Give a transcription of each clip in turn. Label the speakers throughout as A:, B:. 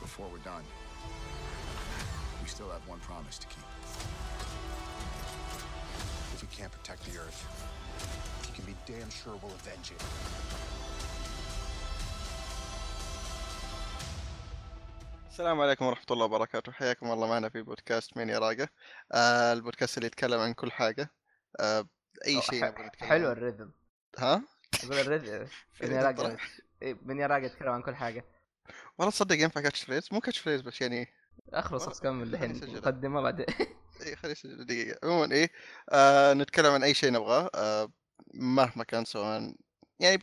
A: before we're done, we still have one promise to keep. If we can't protect the Earth, you can be damn sure we'll avenge it.
B: السلام عليكم ورحمة الله وبركاته حياكم الله معنا في بودكاست مين يراقة آه البودكاست اللي يتكلم عن كل حاجة آه أي شيء
C: ح-
B: نبغى نتكلم
C: حلو
B: عنه.
C: الريذم
B: ها
C: اقول الريذم من
B: فريد
C: يراقب إيه،
B: طلع.
C: من يراقب يتكلم عن كل حاجه
B: والله تصدق ينفع كاتش فريز مو كاتش فريز بس يعني
C: اخلص
B: والله
C: اسكمل
B: خليني
C: الحين
B: أسجلها.
C: مقدمه بعدين
B: إيه خليني أسجل دقيقة عموما إيه آه نتكلم عن أي شيء نبغاه آه مهما كان سواء يعني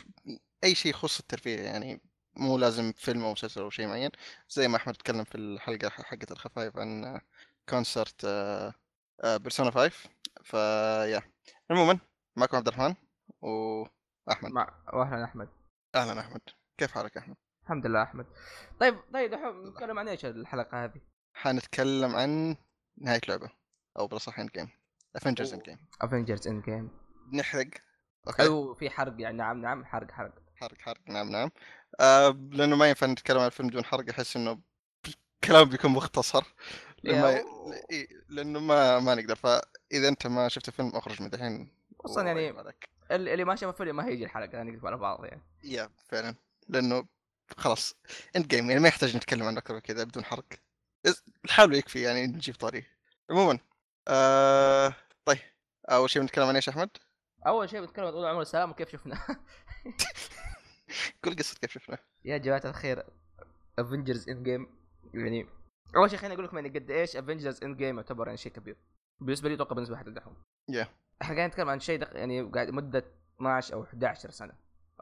B: أي شيء يخص الترفيه يعني مو لازم فيلم أو مسلسل أو شيء معين زي ما أحمد تكلم في الحلقة حقت الخفايف عن آه، كونسرت آه آه بيرسونا 5 فيا عموما معكم عبد الرحمن وأحمد
C: مع واهلا احمد
B: أهلا أحمد كيف حالك يا أحمد؟
C: الحمد لله احمد طيب طيب دحوم نتكلم عن ايش الحلقه هذه؟
B: حنتكلم عن نهاية لعبة أو بالأصح إند جيم افنجرز
C: أوه.
B: اند جيم
C: افنجرز اند جيم
B: نحرق أوكي
C: او في حرق يعني نعم نعم حرق حرق
B: حرق حرق نعم نعم آه لانه ما ينفع نتكلم عن الفيلم بدون حرق احس انه الكلام بيكون مختصر لأنه ما
C: يا-
B: إيه، لانه ما ما نقدر فاذا انت ما شفت الفيلم اخرج من دحين
C: أصلاً يعني-
B: وعيب عليك.
C: ال- اللي ما شاف الفيلم ما هيجي الحلقه يعني نقف على بعض يعني
B: يا فعلا لانه خلاص اند جيم يعني ما يحتاج نتكلم عنه اكثر من كذا بدون حرق إز- الحال يكفي يعني نجيب طريق عموما آه طيب اول شيء بنتكلم عن ايش يا احمد؟
C: اول شيء بنتكلم عن طول عمر السلام وكيف شفنا
B: كل قصه كيف شفنا
C: يا جماعه الخير افنجرز اند جيم يعني اول شيء خليني اقول لكم يعني قد ايش افنجرز اند جيم يعتبر يعني شيء كبير بالنسبه لي اتوقع بالنسبه لحد دحوم
B: Yeah.
C: احنا قاعدين نتكلم عن شيء دق... يعني قاعد مده 12 او 11 سنه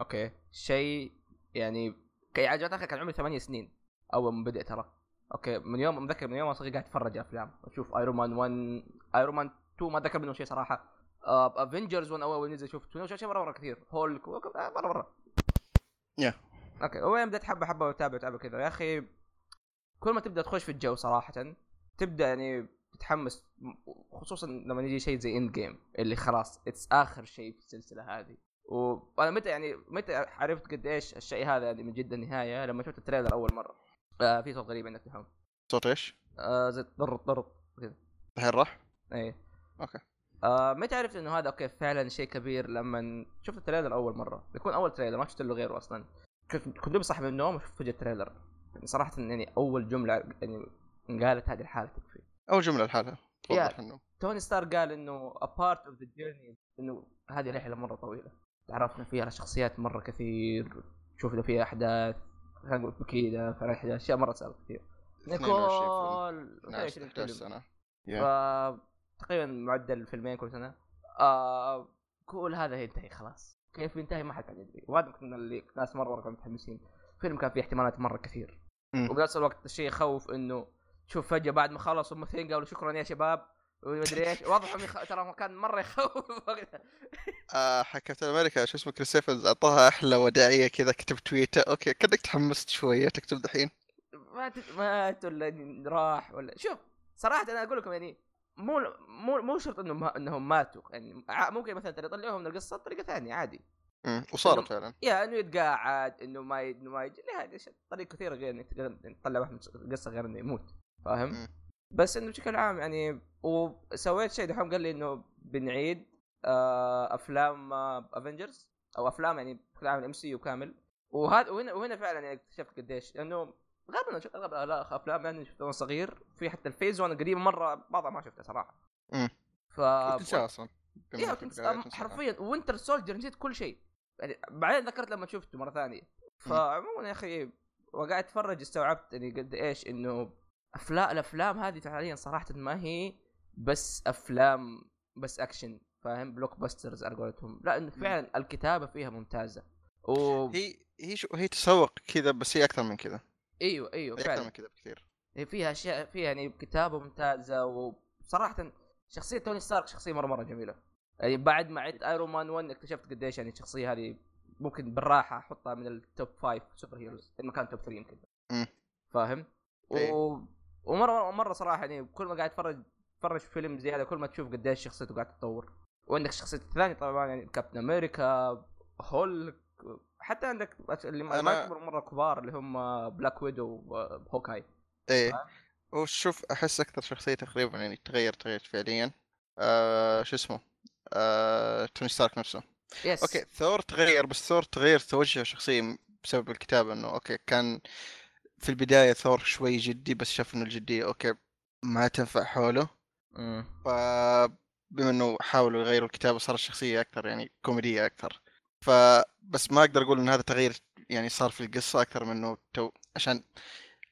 C: اوكي شيء يعني ك- يعني جماعة الخير كان عمري 8 سنين اول ما بدا ترى اوكي من يوم متذكر من يوم وانا صغير قاعد اتفرج على افلام اشوف ايرون مان 1 ايرون مان 2 ما اتذكر منه شيء آه، صراحه افنجرز 1 اول ما نزل شفته شفت شيء مره مره كثير هولك وك- آه، مره مره
B: Yeah.
C: اوكي وين بدات حبه حبه وتابع تابع كذا يا اخي كل ما تبدا تخش في الجو صراحه تبدا يعني تتحمس خصوصا لما يجي شيء زي اند جيم اللي خلاص اتس اخر شيء في السلسله هذه وانا متى يعني متى عرفت قد ايش الشيء هذا يعني من جد النهايه لما شفت التريلر اول مره آه في صوت غريب عندك تفهم
B: صوت ايش؟
C: آه زي ضر ضر كذا
B: دحين راح؟
C: اي
B: أوكي.
C: إيه. آه متى عرفت انه هذا اوكي فعلا شيء كبير لما شفت التريلر اول مره يكون اول تريلر ما شفت له غيره اصلا كنت كنت دوب صاحي من النوم وشفت فجاه التريلر يعني صراحه يعني اول جمله يعني قالت هذه الحاله تكفي
B: اول جمله لحالها توضح انه
C: توني ستار قال انه a part of the journey انه هذه رحله مره طويله تعرفنا فيها على شخصيات مره كثير شفنا فيها احداث خلينا نقول كذا فعلا إحداث، اشياء مره صارت كثير
B: 22 فيلم. نعم،
C: نيكول
B: 12
C: 22 فيلم.
B: 11 سنه
C: ف- تقريبا معدل فيلمين كل سنه آه كل هذا ينتهي خلاص كيف ينتهي ما حد كان يدري وهذا كنا اللي ناس مره مره كانوا متحمسين الفيلم كان فيه احتمالات مره كثير
B: مم.
C: وبنفس الوقت الشيء يخوف انه تشوف فجاه بعد ما خلصوا الممثلين قالوا شكرا يا شباب ومدري ايش واضح انه يخ... ترى كان مره يخوف وقتها.
B: آه حق كابتن امريكا شو اسمه كريس ايفنز اعطاها احلى وداعيه كذا كتب تويتر اوكي كانك تحمست شويه تكتب دحين
C: ما تد... مات ولا راح ولا شوف صراحه انا اقول لكم يعني مو مو مو شرط انهم انهم ماتوا يعني ع- ممكن مثلا ترى يطلعوهم من القصه بطريقه ثانيه عادي
B: مم. وصارت
C: إنه-
B: فعلا
C: يا انه يتقاعد انه ما ي... انه ما يجي لا هذه أشياء- طريق كثيره غير انك تقدر تطلع واحد من القصه غير انه يموت فاهم؟
B: مم.
C: بس انه بشكل عام يعني وسويت شيء دحوم قال لي انه بنعيد آه افلام افنجرز او افلام يعني بشكل عام الام سي يو كامل وهذا وهنا وهنا فعلا يعني اكتشفت قديش لانه غالبا شفت اغلب الأ- افلام يعني شفتها وانا صغير في حتى الفيز وانا قريب مره بعضها ما شفتها صراحه.
B: مم.
C: ف
B: تنساها اصلا بما
C: يا
B: إنك بالغاية تنساها.
C: حرفيا وينتر سولجر نسيت كل شيء يعني بعدين ذكرت لما شفته مره ثانيه فعموما يا اخي وقاعد اتفرج استوعبت يعني قد ايش انه افلام الافلام هذه فعليا صراحه ما هي بس افلام بس اكشن فاهم بلوك باسترز على قولتهم لا انه فعلا الكتابه فيها ممتازه و...
B: هي هي شو هي تسوق كذا بس هي اكثر من كذا
C: ايوه ايوه
B: هي اكثر
C: فعلا
B: من كذا بكثير
C: إيه فيها اشياء فيها يعني كتابه ممتازه وصراحه شخصيه توني ستارك شخصيه مره مره جميله يعني بعد ما عدت ايرون مان 1 اكتشفت قديش يعني الشخصيه هذه ممكن بالراحه احطها من التوب 5 سوبر هيروز إن ما كان توب 3 يمكن
B: مم.
C: فاهم؟ و...
B: إيه.
C: ومره مره صراحه يعني كل ما قاعد اتفرج اتفرج في فيلم زي هذا كل ما تشوف قديش شخصيته قاعد تتطور وعندك الشخصيات الثانيه طبعا يعني كابتن امريكا هولك حتى عندك اللي ما
B: أنا-
C: ما يعتبروا مره كبار اللي هم بلاك ويدو وهوكاي
B: ايه
C: فاهم؟
B: وشوف احس اكثر شخصيه تقريبا يعني تغير تغيرت فعليا آه شو اسمه آه توني ستارك نفسه
C: يس
B: اوكي ثور تغير بس ثور تغير توجه شخصيه بسبب الكتابه انه اوكي كان في البدايه ثور شوي جدي بس شاف انه الجديه اوكي ما تنفع حوله
C: مم.
B: فبما انه حاولوا يغيروا الكتابه صارت شخصيه اكثر يعني كوميديه اكثر فبس ما اقدر اقول ان هذا تغيير يعني صار في القصه اكثر من انه تو عشان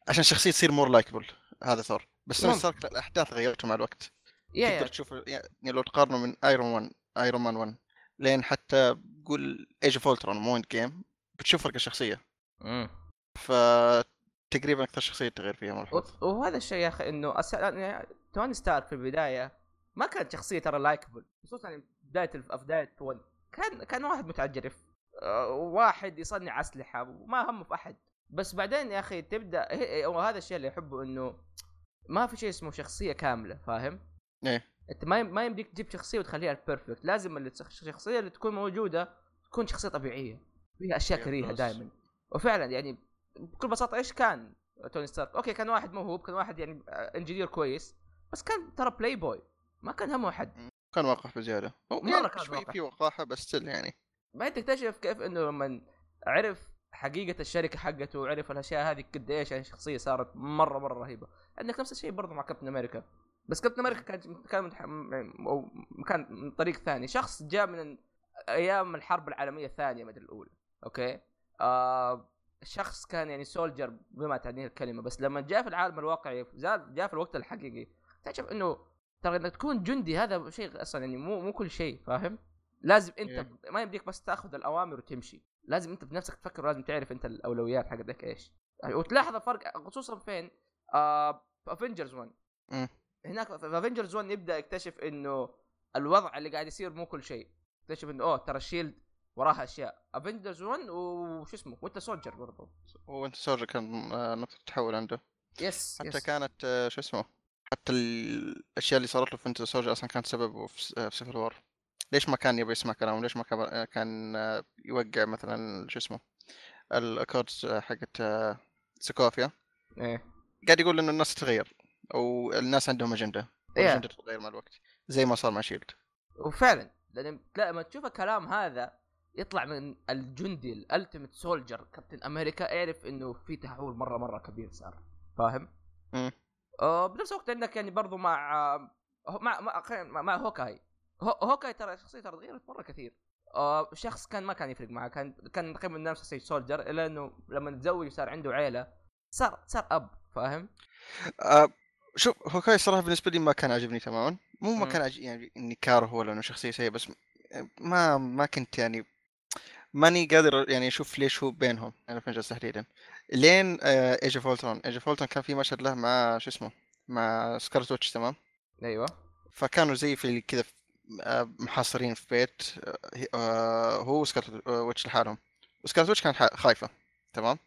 B: عشان الشخصيه تصير مور لايكبل هذا ثور بس توني
C: ممكن.
B: ستارك لا، الاحداث غيرته مع الوقت
C: يا
B: تقدر
C: يا
B: تشوف يعني لو تقارنه من ايرون 1 ايرون مان 1 لين حتى قول ايج اوف اولترون مو اند جيم بتشوف فرق الشخصيه
C: مم.
B: فتقريبا اكثر شخصيه تغير فيها ملحوظ
C: و- وهذا الشيء يا اخي انه أس... يعني توني ستارك في البدايه ما كانت شخصيه ترى لايكبل خصوصا يعني بدايه الف... في بدايه 1 كان كان واحد متعجرف آه، واحد يصنع اسلحه وما همه في احد بس بعدين يا اخي تبدا هي- وهذا الشيء اللي احبه انه ما في شيء اسمه شخصيه كامله فاهم؟
B: إيه.
C: انت ما يم- ما يمديك تجيب شخصيه وتخليها البيرفكت لازم اللي تس- الشخصيه اللي تكون موجوده تكون شخصيه طبيعيه فيها اشياء
B: يا
C: كريهه
B: بس.
C: دائما وفعلا يعني بكل بساطه ايش كان توني ستارك اوكي كان واحد موهوب كان واحد يعني آه، انجينير كويس بس كان ترى بلاي بوي ما كان همه احد
B: كان واقع بزياده هو
C: مرة
B: يعني
C: كان
B: شوي
C: واقع.
B: في وقاحه بس still يعني
C: بعدين تكتشف كيف انه لما عرف حقيقه الشركه حقته وعرف الاشياء هذه قد ايش يعني الشخصيه صارت مره مره رهيبه عندك نفس الشيء برضه مع كابتن امريكا بس كابتن امريكا كان كان متح... م- او كان من طريق ثاني شخص جاء من ايام الحرب العالميه الثانيه ما ادري الاولى اوكي آه شخص كان يعني سولجر بما تعنيه الكلمه بس لما جاء في العالم الواقعي زاد جاء في الوقت الحقيقي تكتشف انه ترى انك تكون جندي هذا شيء اصلا يعني مو مو كل شيء فاهم لازم انت ما يمديك بس تاخذ الاوامر وتمشي لازم انت بنفسك تفكر ولازم تعرف انت الاولويات حقتك ايش وتلاحظ الفرق خصوصا فين آه في افنجرز 1
B: مم.
C: هناك في افنجرز 1 يبدا يكتشف انه الوضع اللي قاعد يصير مو كل شيء اكتشف انه اوه ترى الشيلد وراها اشياء افنجرز 1 وش اسمه وانت سولجر برضه
B: وانت سوري كان آه، نقطه تحول عنده
C: يس
B: حتى
C: يس.
B: كانت آه، شو اسمه حتى ال- الاشياء اللي صارت له في انت سولجر اصلا كانت سببه في س- آه، في سيفل وور ليش ما كان يبغى يسمع كلامه ليش ما كان- آه، كان آه، يوقع مثلا شو اسمه الاكوردز آه، حقت آه، سكوفيا
C: ايه
B: قاعد يقول انه الناس تتغير او الناس عندهم اجنده
C: yeah.
B: الاجنده تتغير مع الوقت زي ما صار مع شيلد
C: وفعلا لان لا، لما تشوف الكلام هذا يطلع من الجندي الالتيميت سولجر كابتن امريكا اعرف انه في تحول مره مره كبير صار فاهم؟
B: مم.
C: آه، بنفس الوقت عندك يعني برضو مع آه، هو- مع مع, خلينا- مع, مع هوكاي هو- هوكاي ترى شخصيته ترى تغيرت مره كثير آه، شخص كان ما كان يفرق معه كان كان تقريبا نفس الشيء سولجر الا انه لما تزوج وصار عنده عيله صار صار اب فاهم؟
B: آه، شوف هوكاي صراحه بالنسبه لي ما كان عاجبني تماما مو ما
C: مم.
B: كان عاجبني يعني اني كاره ولا انه شخصيه سيئه بس ما ما كنت يعني ماني قادر يعني اشوف ليش هو بينهم الافنجرز تحديدا لين آه، ايج اوف اولترون ايج اوف اولترون كان في مشهد له مع شو اسمه مع سكارلت ويتش تمام
C: ايوه
B: فكانوا زي في كذا في- آه، محاصرين في بيت آه، آه، هو وسكارلت ويتش لحالهم وسكارلت ويتش كانت حا- خايفه تمام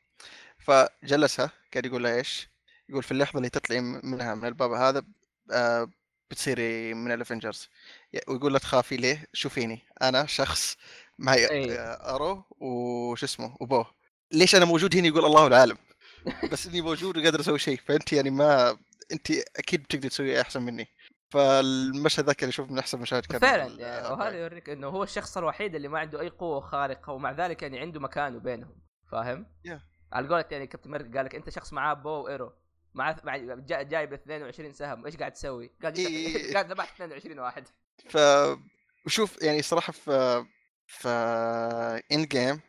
B: فجلسها قاعد يقول لها ايش؟ يقول في اللحظه اللي تطلعي م- منها من الباب هذا آه، بتصيري من الافنجرز ويقول لها تخافي ليه؟ شوفيني انا شخص معي
C: أي.
B: آه، ارو وش اسمه وبوه ليش انا موجود هنا يقول الله العالم بس اني موجود وقادر اسوي شيء فانت يعني ما انت اكيد بتقدر تسوي احسن مني فالمشهد ذاك اللي اشوف من احسن مشاهد كان
C: فعلا
B: ال-
C: يعني
B: آه،
C: وهذا يوريك انه هو الشخص الوحيد اللي ما عنده اي قوه خارقه ومع ذلك يعني عنده مكانه بينهم فاهم؟
B: Yeah.
C: على قولة يعني كابتن امريكا قال لك انت شخص معاه بو وايرو مع مع- جا- جايب 22 سهم ايش قاعد تسوي؟ قاعد
B: إي إي إي.
C: قاعد ذبحت 22 واحد
B: ف وشوف يعني صراحه في في اند جيم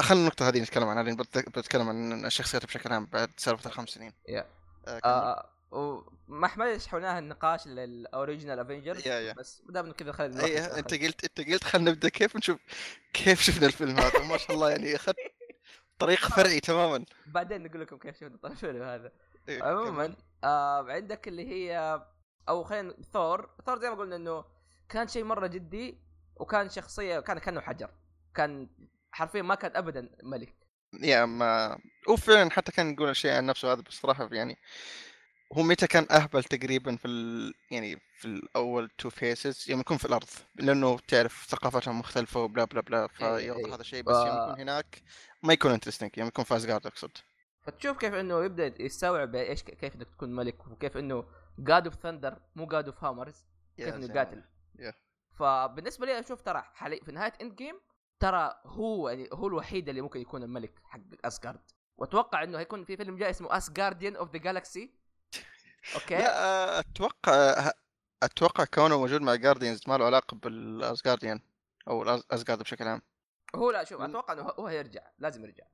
B: خلينا النقطه آه، هذه نتكلم عنها لان بت- بتكلم عن الشخصيات بشكل عام بعد سالفه الخمس سنين
C: يا.
B: آه، كمل.
C: آه وما احنا شحناها النقاش للاوريجنال افنجرز
B: يا- يا.
C: بس ما دام إنه كذا خلينا نروح
B: ايه
C: للآخر.
B: انت قلت انت قلت خلينا نبدا كيف نشوف كيف شفنا الفيلم هذا ما شاء الله يعني اخذت طريق فرعي تماما
C: بعدين نقول لكم كيف شفنا طيب الفيلم هذا
B: إيه، كمل.
C: عموما آه عندك اللي هي او خلينا ثور ثور زي ما قلنا انه كان شيء مره جدي وكان شخصيه كان كانه حجر كان حرفيا ما كان ابدا ملك
B: يا يعني ما وفعلا حتى كان يقول الشيء عن نفسه هذا بصراحة يعني هو متى كان اهبل تقريبا في ال... يعني في الاول تو فيسز يوم يكون في الارض لانه تعرف ثقافتهم مختلفة وبلا بلا بلا
C: إيه،
B: فيوضح
C: إيه.
B: هذا الشيء بس يوم
C: و-
B: يكون هناك ما يكون انترستنج يوم يكون في اسجارد اقصد
C: فتشوف كيف انه يبدا يستوعب ايش كيف انك تكون ملك وكيف انه جاد اوف ثندر مو جاد اوف هامرز كيف انه يقاتل
B: Yeah.
C: فبالنسبه لي اشوف ترى حالي في نهايه اند جيم ترى هو يعني هو الوحيد اللي ممكن يكون الملك حق اسجارد واتوقع انه هيكون في فيلم جاي اسمه اسجارديان اوف ذا جالكسي اوكي
B: لا آه، اتوقع اتوقع كونه موجود مع جارديانز ما له علاقه بالازجارديان او الازجارد بشكل عام
C: هو لا شوف اتوقع انه هو هيرجع لازم يرجع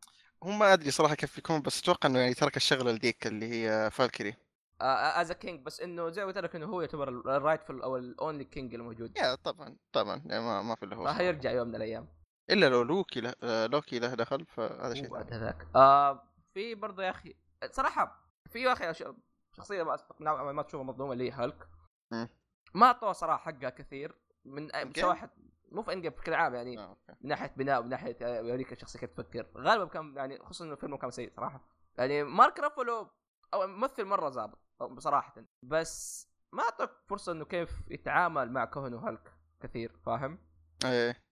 B: هو ما ادري صراحه كيف بيكون بس اتوقع انه يعني ترك الشغله لديك اللي هي فالكري
C: از كينج بس انه زي ما قلت لك انه هو يعتبر الرايتفul او الاونلي كينج الموجود
B: يا طبعا طبعا يعني ما ما في الا هو صراحة.
C: فهيرجع يوم من الايام
B: الا لو لوكي له آه، لوكي له دخل فهذا شيء
C: وبعد
B: ثاني.
C: هذاك آه في برضه يا اخي صراحه في يا اخي أش- شخصيه ما أصدق- نوعاً ما تشوفها مظلومه اللي هي هالك
B: مم.
C: ما اعطوها صراحه حقها كثير من
B: Endgame؟
C: سواء حت- مو في انجب بشكل عام يعني
B: آه، أوكي.
C: من ناحيه بناء ومن ناحيه آه، يوريك الشخصيه كيف تفكر غالبا كان يعني خصوصا انه فيلمه كان سيء صراحه يعني مارك رافولو او ممثل مره ظابط أو بصراحه بس ما اعطوك فرصه انه كيف يتعامل مع كهن وهلك كثير فاهم؟
B: إيه.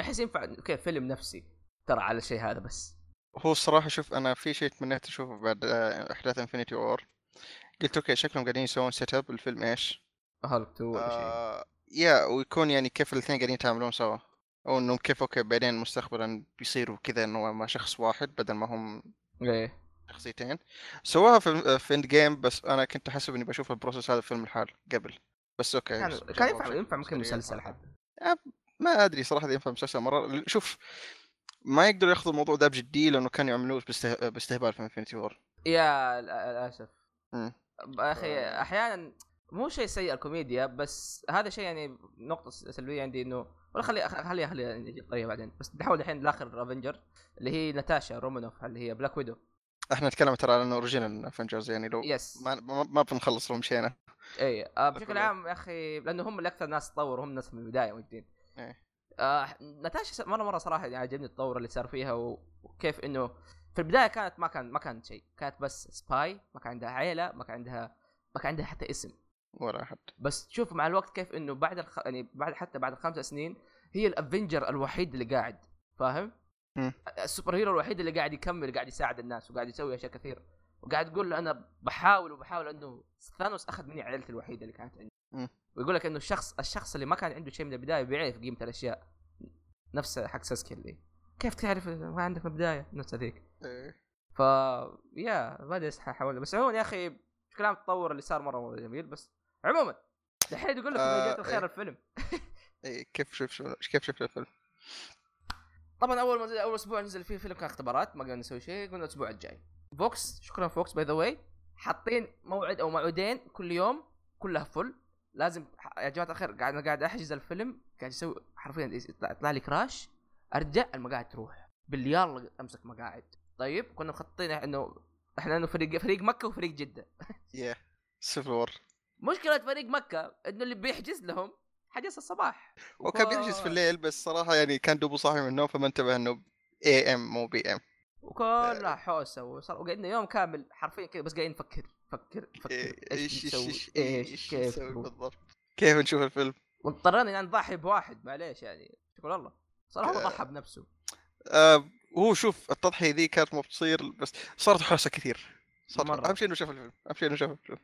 C: احس ينفع كيف فيلم نفسي ترى على الشيء هذا بس
B: هو الصراحه شوف انا في شيء تمنيت اشوفه بعد آه، احداث انفنتي وور قلت اوكي شكلهم قاعدين يسوون سيت اب الفيلم ايش؟
C: هالك تو ولا شيء
B: آه يا ويكون يعني كيف الاثنين قاعدين يتعاملون سوا او انهم كيف اوكي بعدين مستقبلا بيصيروا كذا انه ما شخص واحد بدل ما هم
C: ايه
B: شخصيتين سواها في آه، في اند جيم بس انا كنت احسب اني بشوف البروسس هذا الفيلم الحال قبل بس اوكي
C: كان
B: بس بشوفه
C: كان ينفع
B: بشكل
C: ينفع ممكن
B: سريع.
C: مسلسل حتى
B: ما ادري صراحه اذا ينفع مسلسل مره شوف ما يقدروا ياخذوا الموضوع ده بجديه لانه كانوا يعملوه باسته- باستهبال في انفنتي وور
C: يا ل- للاسف
B: مم.
C: ب- اخي
B: آه.
C: احيانا مو شيء سيء الكوميديا بس هذا شيء يعني نقطة س- سلبية عندي انه ولا خلي خلي خلي, خلي نجي الطريقة بعدين بس نحول الحين لاخر افنجر اللي هي ناتاشا رومانوف اللي هي بلاك ويدو
B: احنا نتكلم ترى عن انه اوريجينال افنجرز يعني لو
C: يس
B: ما ما, ما بنخلص لو مشينا
C: اي آه بشكل
B: أوكي.
C: عام يا اخي لانه هم اللي اكثر ناس تطوروا هم ناس من البدايه موجودين
B: إيه.
C: آه ناتاشا س- مره مره صراحه يعني عجبني التطور اللي صار فيها و- وكيف انه في البدايه كانت ما كان ما كانت شيء كانت بس سباي ما كان عندها عيله ما كان عندها ما كان عندها حتى اسم
B: ولا احد
C: بس تشوف مع الوقت كيف انه بعد الخ... يعني بعد حتى بعد خمس سنين هي الافنجر الوحيد اللي قاعد فاهم؟
B: مم.
C: السوبر هيرو الوحيد اللي قاعد يكمل قاعد يساعد الناس وقاعد يسوي اشياء كثير وقاعد يقول له انا بحاول وبحاول انه ثانوس اخذ مني عائلتي الوحيده اللي كانت عندي
B: مم.
C: ويقول لك انه الشخص الشخص اللي ما كان عنده شيء من البدايه بيعرف قيمه الاشياء نفس حق ساسكي اللي كيف تعرف إنه ما عندك من البدايه نفس هذيك
B: إيه،
C: ف يا ما ادري ايش حاول بس عموما يا اخي بشكل عام التطور اللي صار مره مره جميل بس عموما الحين يقول لك انه
B: آه،
C: جزاك الخير
B: إيه.
C: الفيلم
B: إيه، كيف شوف شوف- كيف شفت الفيلم؟
C: طبعا اول ما نزل- اول اسبوع نزل فيه فيلم كان اختبارات ما قدرنا نسوي شيء قلنا الاسبوع الجاي فوكس شكرا فوكس باي ذا واي حاطين موعد او موعدين كل يوم كلها فل لازم يا جماعه الخير قاعد انا قاعد احجز الفيلم قاعد اسوي حرفيا يطلع يطلع لي كراش ارجع المقاعد تروح باليار امسك مقاعد طيب كنا مخططين انه احنا انه فريق فريق مكه وفريق جده
B: يا سيفل وور
C: مشكلة فريق مكة انه اللي بيحجز لهم حجز الصباح
B: وكان بيحجز في الليل بس صراحه يعني كان دوبه صاحي من النوم فما انتبه انه اي ام مو بي ام
C: وكلها حوسة وصار وقعدنا يوم كامل حرفيا كذا بس قاعدين نفكر فكر فكر
B: إيه،
C: ايش نسوي ايش كيف
B: نسوي بالضبط كيف نشوف الفيلم؟
C: واضطرينا يعني نضحي بواحد معليش يعني شكرا الله صراحة هو
B: آه.
C: ضحى بنفسه
B: آه هو شوف التضحيه ذي كانت ما بتصير بس صارت حوسه كثير صارت
C: مرة.
B: اهم شيء انه شاف الفيلم اهم شيء انه شاف الفيلم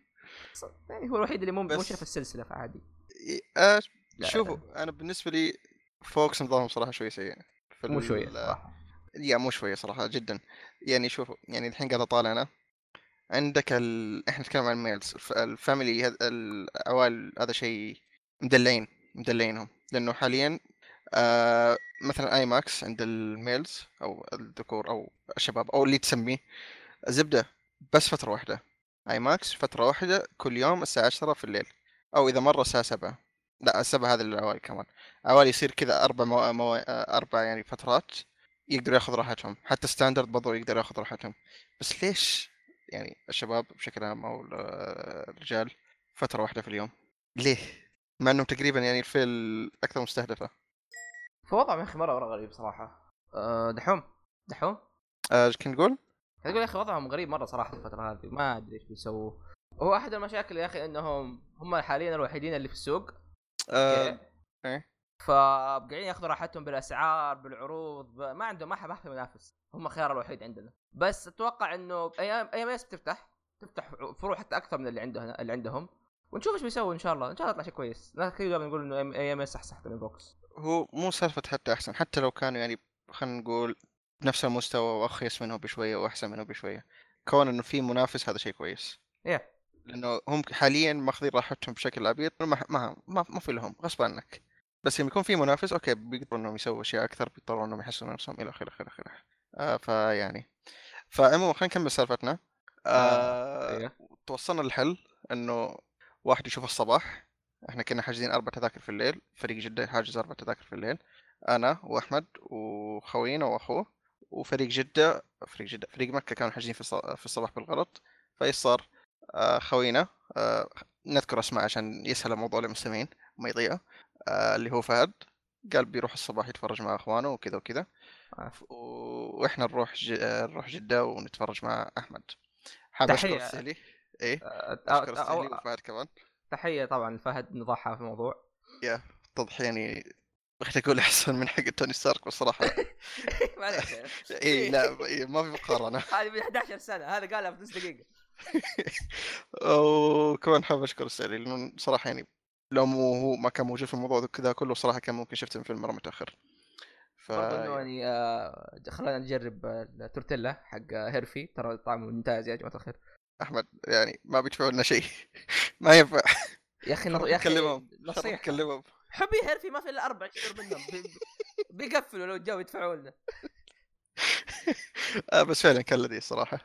C: ص- يعني هو الوحيد اللي مو مو
B: بس-
C: شاف السلسلة فعادي
B: إيه، آه
C: لا،
B: شوفوا انا بالنسبه لي فوكس نظامهم صراحه شوي سيء في
C: مو
B: ال-
C: شوية صراحة
B: يا مو شويه صراحه جدا يعني شوفوا يعني الحين قاعد اطالع انا عندك ال... احنا نتكلم عن الميلز الف- الفاميلي هذ... العوائل هذا شيء مدلعين مدلعينهم لانه حاليا آه مثلا اي ماكس عند الميلز او الذكور او الشباب او اللي تسميه زبده بس فتره واحده اي ماكس فتره واحده كل يوم الساعه 10 في الليل او اذا مره الساعه 7 لا السبعة هذا للعوائل كمان عوائل يصير كذا اربع مو... مو... آه، اربع يعني فترات يقدر ياخذ راحتهم حتى ستاندرد برضو يقدر ياخذ راحتهم بس ليش يعني الشباب بشكل عام او ال- الرجال فتره واحده في اليوم ليه مع انهم تقريبا يعني الفئه الاكثر مستهدفه
C: فوضعهم يا اخي مرة مرة غريب صراحة آه، دحوم دحوم
B: آه، ايش كنت تقول
C: تقول يا اخي وضعهم غريب مره صراحه في الفتره هذه ما ادري ايش بيسووا هو احد المشاكل يا اخي انهم هم حاليا الوحيدين اللي في السوق
B: آه،
C: أوكي؟
B: إيه.
C: فقاعدين ياخذوا راحتهم بالاسعار بالعروض ب... ما عندهم ما حد ما حد ينافس هم الخيار الوحيد عندنا بس اتوقع انه ايام ايام اس بتفتح تفتح فروع حتى اكثر من اللي عنده هنا- اللي عندهم ونشوف ايش بيسووا ان شاء الله ان شاء الله يطلع شيء كويس ناس كثير دائما نقول انه اي ام اس احسن من بوكس
B: هو مو سالفة حتى أحسن حتى لو كانوا يعني خلينا نقول بنفس المستوى وأخيس منه بشوية وأحسن منه بشوية كون إنه في منافس هذا شيء كويس
C: Yeah.
B: لأنه هم حاليا ماخذين راحتهم بشكل عبيط ما ما ما, ما في لهم غصب عنك بس لما يكون في منافس أوكي بيقدروا إنهم يسووا أشياء أكثر بيضطروا إنهم يحسنوا نفسهم إلى آخره إلى آخره آه فيعني فعموما خلينا نكمل سالفتنا آه
C: إيه.
B: توصلنا للحل انه واحد يشوف الصباح احنا كنا حاجزين اربع تذاكر في الليل فريق جده حاجز اربع تذاكر في الليل انا واحمد وخوينا واخوه وفريق جده فريق جده فريق مكه كانوا حاجزين في الص- في الصباح بالغلط فايش صار؟ آه، خوينا آه، نذكر اسماء عشان يسهل الموضوع للمستمعين ما يضيع آه، اللي هو فهد قال بيروح الصباح يتفرج مع اخوانه وكذا وكذا
C: آه.
B: ف- و- واحنا نروح ج... آه، نروح جده ونتفرج مع احمد حاب اشكر
C: تحية.
B: السهلي ايه
C: آه، آه،
B: اشكر
C: آه،
B: السهلي
C: آه،
B: وفهد كمان
C: تحيه طبعا لفهد نضحى في الموضوع
B: توضح يعني بغيت اقول احسن من حق توني ستارك بصراحه
C: معلش يعني.
B: اي لا إيه، ما في مقارنه
C: هذه من 11 سنه هذا قالها في نص دقيقه
B: وكمان حاب اشكر السعري لانه صراحه يعني لو مو هو ما كان موجود في الموضوع ذا- كذا كله صراحه كان ممكن شفته في مره متاخر ف
C: برضو انه يعني آه، خلونا نجرب آه، التورتيلا حق آه، هيرفي ترى طعمه ممتاز يا جماعه الخير
B: احمد يعني ما بيدفعوا لنا شيء ما ينفع
C: يا اخي
B: خلونا
C: نط- يا اخي
B: نكلمهم.
C: نصيحه
B: كلمهم
C: حبي هيرفي ما في الا اربع اشهر منهم بي- بي- بيقفلوا لو جو يدفعوا لنا
B: آه بس فعلا كان لذيذ صراحه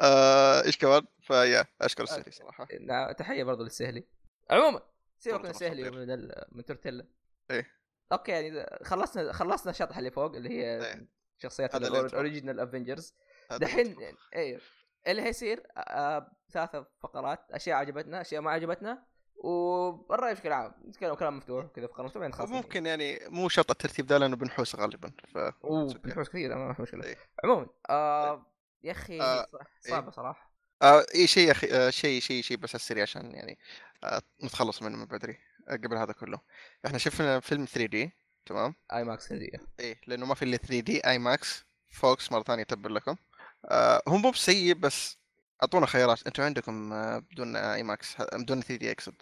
B: آه ايش كمان فيا اشكر السعري صراحه
C: نعم، تحيه برضو للسهلي عموما سيبك من
B: تفضل،
C: السهلي
B: تفضل.
C: ومن ال- من تورتيلا
B: إيه.
C: اوكي يعني إذا خلصنا خلصنا الشطح اللي فوق اللي هي
B: إيه.
C: شخصيات
B: هذا الانترو.
C: الاوريجينال افنجرز
B: هذا
C: دحين
B: الانترو.
C: يعني- ايوه اللي هيصير آه، ثلاثة فقرات اشياء عجبتنا اشياء ما عجبتنا والرأي بشكل عام نتكلم كلام مفتوح كذا فقرة مفتوحة بعدين خلاص
B: وممكن يعني مو شرط الترتيب ده لانه بنحوس غالبا ف
C: اوه بنحوس كثير ما في مشكلة
B: إيه.
C: عموما آه يا اخي
B: آه،
C: صح- صعبة صراحة
B: آه اي شيء أخي... آه شيء شيء شيء بس على السريع عشان يعني آه نتخلص منه من بدري آه قبل هذا كله احنا شفنا فيلم 3 دي تمام
C: اي ماكس هدية
B: ايه لانه ما في الا 3 دي اي ماكس فوكس مره ثانيه تبر لكم آه هم مو بسيء بس اعطونا خيارات انتم عندكم آه بدون اي ماكس بدون 3 دي اقصد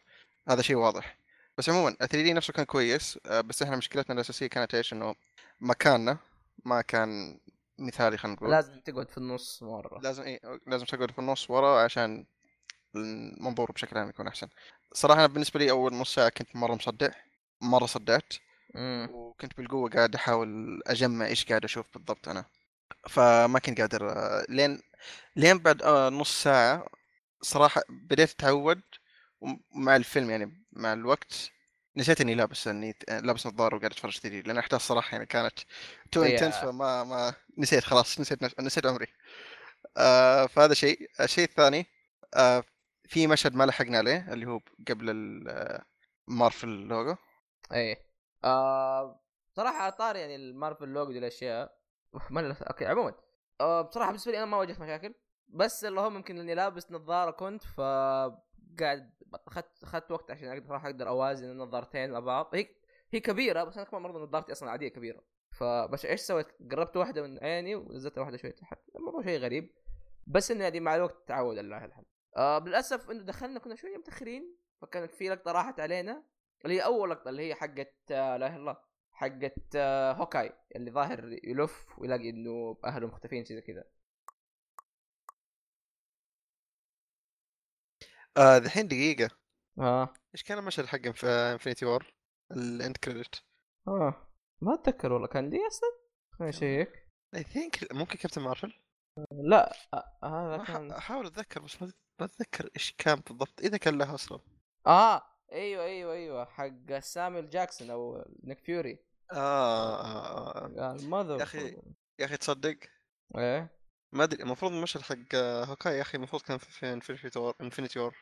B: هذا شيء واضح بس عموما 3 دي نفسه كان كويس آه بس احنا مشكلتنا الاساسيه كانت ايش انه مكاننا ما كان مثالي خلينا نقول
C: لازم تقعد في النص مرة
B: لازم ايه لازم تقعد في النص ورا عشان المنظور بشكل عام يكون احسن صراحه أنا بالنسبه لي اول نص ساعه كنت مره مصدع مره صدعت
C: مم.
B: وكنت بالقوه قاعد احاول اجمع ايش قاعد اشوف بالضبط انا فما كنت قادر آه، لين لين بعد آه، نص ساعه صراحه بديت اتعود ومع الفيلم يعني مع الوقت نسيت اني لابس اني ت- لابس نظاره وقاعد اتفرج تدري لان الاحداث صراحه يعني كانت تو
C: هي-
B: انتنس فما ما نسيت خلاص نسيت نف- نسيت عمري آه فهذا شيء الشيء الثاني آه في مشهد ما لحقنا عليه اللي هو قبل ال- آه، مارفل لوجو
C: ايه آه صراحه على طار يعني المارفل لوجو دي الاشياء أوف، ما لس- اوكي عموما آه بصراحه بالنسبه لي انا ما واجهت مشاكل بس اللهم يمكن اني لابس نظاره كنت ف قاعد اخذت اخذت وقت عشان اقدر صراحه اقدر اوازن النظارتين مع بعض هي هي كبيره بس انا كمان برضه نظارتي اصلا عاديه كبيره فبس ايش سويت؟ قربت واحده من عيني ونزلت واحده شوي تحت الموضوع شيء غريب بس انه يعني مع الوقت تعود على الحل آه للاسف انه دخلنا كنا شويه متاخرين فكانت في لقطه راحت علينا اللي هي اول لقطه اللي هي حقت آه، لا اله الا الله حقت آه، هوكاي اللي ظاهر يلف ويلاقي انه اهله مختفين شيء زي كذا
B: آه دحين دقيقة
C: اه
B: ايش كان المشهد حقهم في انفنتي وور؟ الاند كريدت
C: اه ما اتذكر والله كان لي اصلا خليني اشيك
B: اي ثينك ممكن كابتن مارفل
C: لا آه، هذا
B: ما
C: كان
B: أح- احاول اتذكر بس ما ما اتذكر ايش كان بالضبط اذا كان لها اصلا
C: اه ايوه ايوه ايوه حق سامويل جاكسون او نيك فيوري
B: آه, آه, آه
C: المذر
B: يا أخي. يا اخي تصدق
C: ايه
B: ما ادري المفروض المشهد حق آه، هوكاي يا اخي المفروض كان في- في انفنتي وور انفنتي وور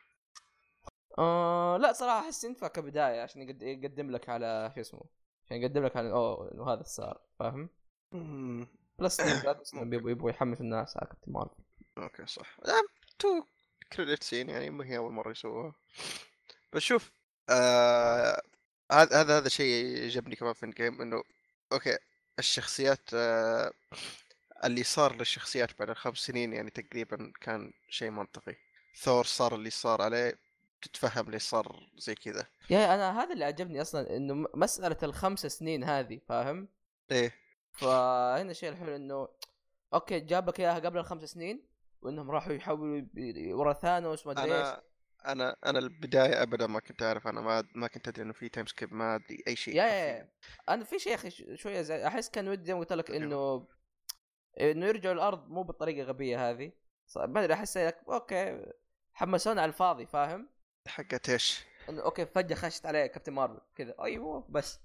C: آه لا صراحه احس ينفع كبدايه عشان يقد- يقدم لك على شو اسمه عشان يقدم لك على اوه انه هذا صار فاهم؟ بلس إنه بيبغوا يبغوا يحمسوا الناس على كابتن مارفل
B: اوكي صح آه، تو كريدت سين يعني ما هي اول مره يسووها بس شوف آه هذا هذا هذا شيء عجبني كمان في الجيم انه اوكي الشخصيات آه، اللي صار للشخصيات بعد الخمس سنين يعني تقريبا كان شيء منطقي ثور صار اللي صار عليه تتفهم ليش صار زي كذا
C: يا انا هذا اللي عجبني اصلا انه م- مساله الخمس سنين هذه فاهم؟
B: ايه
C: فهنا الشيء الحلو انه اوكي جاب لك اياها قبل الخمس سنين وانهم راحوا يحولوا ي- ي- ورا ثانوس ما ادري ايش
B: انا انا انا البدايه ابدا ما كنت اعرف انا ما ما كنت ادري انه في تايم سكيب ما ادري اي شيء
C: يا-
B: حرفياً.
C: يا- يا. انا في شيء يا اخي ش- شويه زي احس كان ودي زي ما قلت لك
B: أيوة.
C: انه انه يرجعوا الارض مو بالطريقه الغبيه هذه ص- ما ادري احس لك اوكي حمسونا على الفاضي فاهم؟
B: حقت ايش؟
C: انه اوكي فجاه خشت عليه كابتن مارفل كذا ايوه بس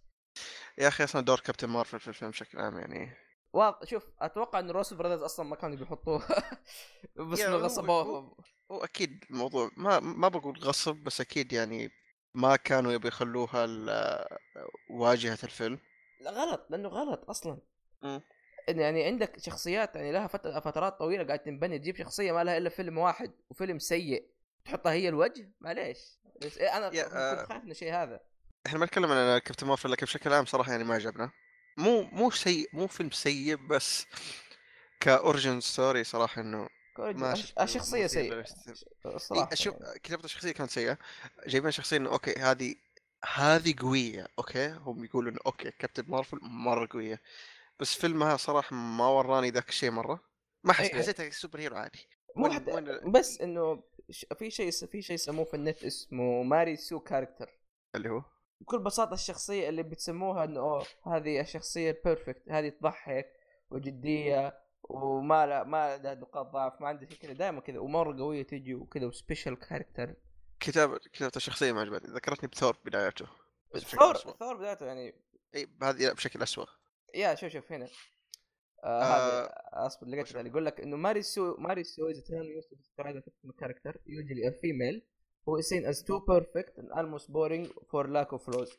B: يا اخي اصلا دور كابتن مارفل في الفيلم بشكل عام يعني
C: واضح شوف اتوقع ان روس براذرز اصلا ما كانوا بيحطوه بس
B: يا
C: انه
B: هو-
C: غصبوهم
B: هو اكيد الموضوع ما ما بقول غصب بس اكيد يعني ما كانوا يبي يخلوها ال- واجهه الفيلم
C: لا غلط لانه غلط اصلا
B: مم.
C: إن يعني عندك شخصيات يعني لها فت- فترات طويله قاعد تنبني تجيب شخصيه ما لها الا فيلم واحد وفيلم سيء تحطها هي الوجه معليش بس إيه انا
B: يا-
C: كنت خايف من الشيء هذا
B: احنا ما نتكلم عن كابتن مارفل لكن بشكل عام صراحه يعني ما عجبنا مو مو سيء مو فيلم سيء بس كاوريجن ستوري صراحه انه ما
C: أش-
B: شفته
C: الشخصيه
B: مثير
C: سيئه
B: للاهتمام.
C: الصراحه
B: إيه، شوف
C: يعني.
B: كتابة الشخصية كانت سيئة جايبين شخصية انه اوكي هذه هذه قوية اوكي هم يقولوا انه اوكي كابتن مارفل مرة قوية بس فيلمها صراحة ما وراني ذاك الشيء مرة ما حس...
C: إيه، إيه.
B: حسيتها سوبر هيرو عادي
C: مو
B: وين-
C: حتى
B: وين-
C: بس انه ش- في شيء في شيء يسموه في النت اسمه ماري سو كاركتر
B: اللي هو
C: بكل بساطه الشخصيه اللي بتسموها انه أوه هذه الشخصيه البيرفكت هذه تضحك وجديه وما لا ما لها نقاط ضعف ما عندها شيء كذا دائما كذا ومره قويه تجي وكذا وسبيشال كاركتر
B: كتابة كتابة الشخصية ما عجبتني ذكرتني بثور بدايته بس بشكل
C: ثور
B: أسوأ.
C: ثور بدايته يعني
B: اي هذه لا بشكل اسوء
C: يا شوف شوف هنا آه
B: آه،
C: هذا اصبر لقيت
B: وش-
C: اللي يقول لك انه ماري سو ماري سو از تيرن يوسف هذا كاركتر يوجلي فيميل هو is seen as too perfect and almost boring for lack of flaws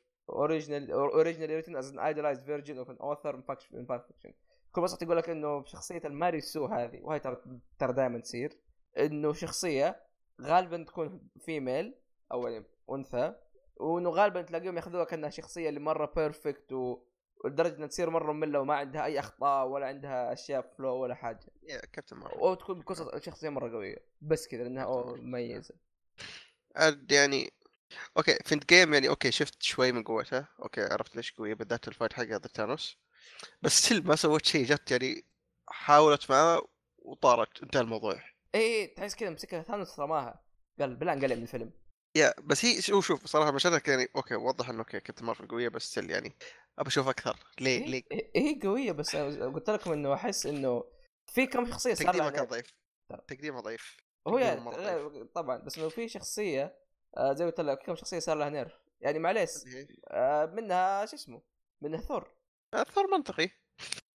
C: original or originally written as an idealized version of an author in fact- in fact fiction كل بس تقول لك انه شخصيه الماري سو هذه وهي ترى ترى دائما تصير انه شخصيه غالبا تكون فيميل او يعني انثى وانه غالبا تلاقيهم ياخذوها كانها شخصيه اللي مره بيرفكت و... ولدرجه انها تصير مره ممله وما عندها اي اخطاء ولا عندها اشياء فلو ولا حاجه
B: يا كابتن مارفل
C: او تكون قصص شخصيه مره قويه بس كذا لانها أوه مميزه
B: عاد يعني اوكي في الجيم يعني اوكي شفت شوي من قوتها اوكي عرفت ليش قويه بالذات الفايت حقها ضد ثانوس بس ستيل ما سوت شيء جت يعني حاولت معاه وطارت انتهى الموضوع
C: اي إيه، تحس كذا مسكها ثانوس رماها قال بلا انقلع من الفيلم
B: يا بس هي شوف شوف صراحه مشهدها يعني اوكي وضح انه اوكي كابتن مارفل قويه بس ستيل يعني ابى اشوف اكثر ليه ليه
C: هي هي قويه إيه، بس أنا قلت لكم انه احس انه في كم شخصيه إيه، صار طيب. لها
B: تقديمها
C: نقل.
B: كان ضعيف تقديمها ضعيف
C: هو
B: تقديمه مرة
C: يعني طبعا بس انه في شخصيه آه، زي ما قلت لك كم شخصيه صار لها نيرف يعني معليش آه، منها شو اسمه منها ثور
B: اثر آه، منطقي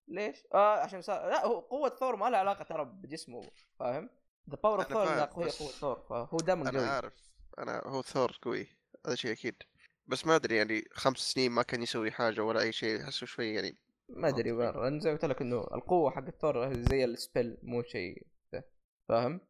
C: ليش؟ آه عشان صار لا هو قوة ثور ما لها علاقة ترى بجسمه فاهم؟ ذا باور اوف
B: أنا
C: ثور
B: فاهم،
C: لا قوية
B: بس-
C: قوة ثور فهو دائما
B: انا
C: قوي
B: عارف انا هو ثور قوي هذا شيء اكيد بس ما ادري يعني خمس سنين ما كان يسوي حاجه ولا اي شيء احسه شوي يعني
C: ما ادري
B: منطقي.
C: انا زي ما قلت لك انه القوة حق ثور زي السبيل مو شيء ذا، فاهم؟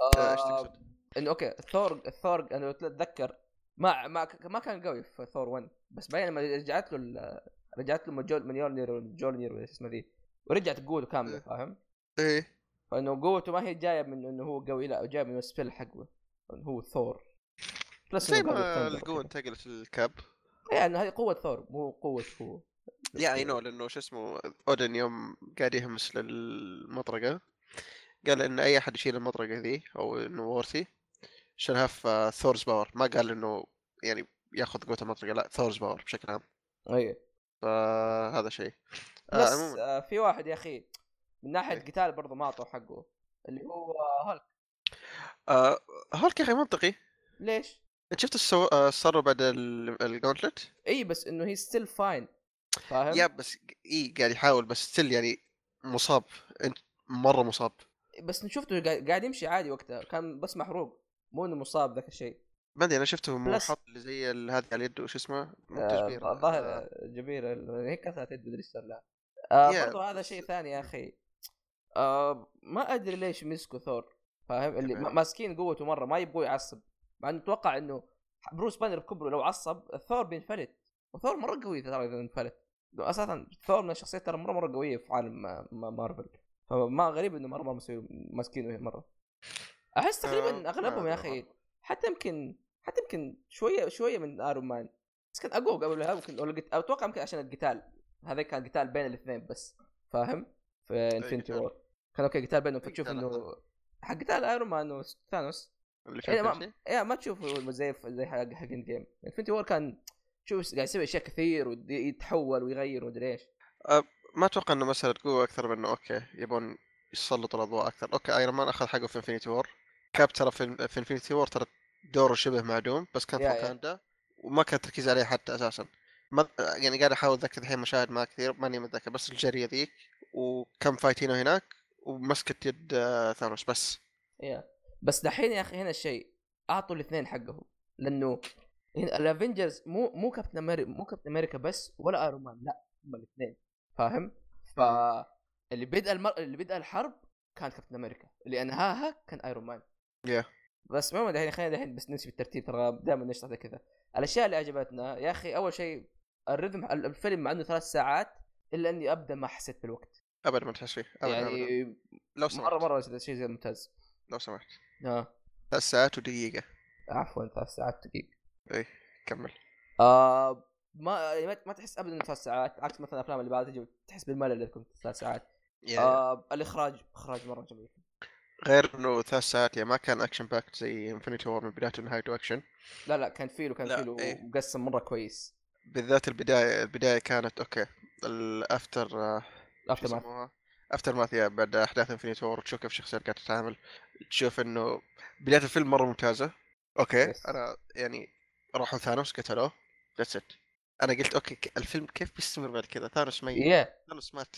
B: آه، إيش
C: آه
B: تقصد؟
C: انه اوكي ثور ثور انا اتذكر ما ما ما كان قوي في ثور 1 بس بعدين لما رجعت له ال- رجعت له مجول مليونير جولنير ولا شو اسمه ذي ورجعت قوته كاملة
B: إيه.
C: فاهم؟
B: ايه
C: فانه قوته ما هي جايه من انه هو قوي لا جايه من السبيل حقه إنه هو ثور بلس
B: زي
C: إنه قوي
B: ما
C: ثندر
B: القوة
C: كده.
B: انتقلت للكاب
C: يعني هذه قوه ثور مو قوه هو
B: يا اي نو لانه شو اسمه اودن يوم قاعد يهمس للمطرقة قال ان اي احد يشيل المطرقة ذي او انه وورثي شالها في ثورز باور ما قال انه يعني ياخذ قوة المطرقة لا ثورز باور بشكل عام
C: اي
B: فهذا شيء آه
C: إيه. بس
B: عموما
C: آه في واحد يا اخي من ناحيه
B: إيه.
C: قتال برضه ما اعطوه حقه اللي هو هالك
B: آه هولك يا اخي منطقي
C: ليش؟
B: انت شفت السو... آه، الصاروخ بعد ال- الجونتلت؟
C: اي إيه، بس انه هي ستيل فاين فاهم؟
B: يا بس اي قاعد يحاول بس ستيل يعني مصاب انت مرة مصاب
C: بس شفته قاعد قاعد يمشي عادي وقتها كان بس محروق مو انه مصاب ذاك الشيء
B: ما ادري انا شفته مو
C: بلس-
B: حط اللي زي ال- هذه على يده وش اسمه؟ مو تجبير،
C: آه، الظاهر
B: آه،
C: آه جبيره ال- هي كسرت يد مدري ايش صار لها آه
B: يا،
C: برضو هذا
B: بس-
C: شيء ثاني يا اخي آه ما ادري ليش مسكوا ثور فاهم اللي
B: تمام.
C: ما- ماسكين قوته مره ما يبغوا يعصب مع انه اتوقع انه بروس بانر بكبره لو عصب ثور بينفلت وثور مره قوي ترى اذا انفلت اساسا ثور من الشخصيات ترى مره مره قويه في عالم ما- ما- مارفل فما غريب انه مره مره مسوي- ماسكينه مره احس
B: آه،
C: تقريبا
B: ما
C: اغلبهم يا اخي
B: أدري.
C: حتى يمكن حتى يمكن شويه شويه من ايرون مان بس كان اقوى قبل هذا يمكن ولا قت- اتوقع يمكن عشان القتال هذا كان قتال بين الاثنين بس فاهم في انفنتي
B: قتال.
C: وور كان اوكي قتال بينهم فتشوف
B: قتال
C: انه حق قتال ايرون مان وثانوس
B: اللي
C: إيه،
B: فيه كل شيء.
C: يا ما تشوف زي زي حق حق اند جيم انفنتي وور كان شوف قاعد يسوي اشياء كثير ويتحول ويغير ومدري ايش
B: ما اتوقع انه مساله قوه اكثر من انه اوكي يبون يسلطوا الاضواء اكثر اوكي ايرون مان اخذ حقه في انفينيتي وور كاب ترى في, في انفينيتي وور ترى دوره شبه معدوم بس كان في
C: يا- يا.
B: واكاندا وما كان تركيز عليه حتى اساسا ما يعني قاعد احاول اتذكر الحين مشاهد ما كثير ماني متذكر بس الجريه ذيك وكم فايتينه هناك ومسكت يد آه، ثانوس بس
C: يا بس دحين يا اخي هنا الشيء اعطوا الاثنين حقهم لانه هنا الافنجرز مو مو كابتن امريكا مو كابتن امريكا بس ولا ايرون مان لا هم الاثنين فاهم؟ ف اللي بدأ المر... اللي بدأ الحرب كان كابتن امريكا اللي انهاها كان ايرون مان
B: Yeah.
C: بس المهم دحين خلينا دحين بس نمشي بالترتيب ترى دائما نشرح كذا الاشياء اللي عجبتنا يا اخي اول شيء الرذم الفيلم مع انه ثلاث ساعات الا اني ابدا ما حسيت بالوقت
B: ابدا ما تحس فيه ابدا أبداً.
C: يعني
B: لو سمحت
C: مره مره شيء زي ممتاز
B: لو سمحت
C: آه.
B: ثلاث ساعات ودقيقه
C: عفوا ثلاث ساعات دقيقة
B: إيه، كمل
C: آه ما يعني ما ما تحس ابدا إنه ثلاث ساعات عكس مثلا الافلام اللي بعدها تجي تحس بالملل اللي تكون ثلاث ساعات
B: يعني
C: آه الاخراج اخراج مره جميل
B: غير انه ثلاث ساعات يعني ما كان اكشن باكت زي انفينيتي وور من بدايته نهايته اكشن
C: لا لا كان فيلو كان
B: لا،
C: فيلو
B: إيه.
C: مقسم مره كويس
B: بالذات البدايه البدايه كانت اوكي الافتر
C: افتر ماث
B: افتر ماث يا بعد احداث انفينيتي وور تشوف كيف الشخصيات قاعده تتعامل تشوف انه بدايه الفيلم مره ممتازه اوكي
C: Yes.
B: انا يعني راحوا ثانوس قتلوه ذاتس ات انا قلت اوكي ك- الفيلم كيف بيستمر بعد كذا ثانوس ميت
C: يا
B: ثانوس مات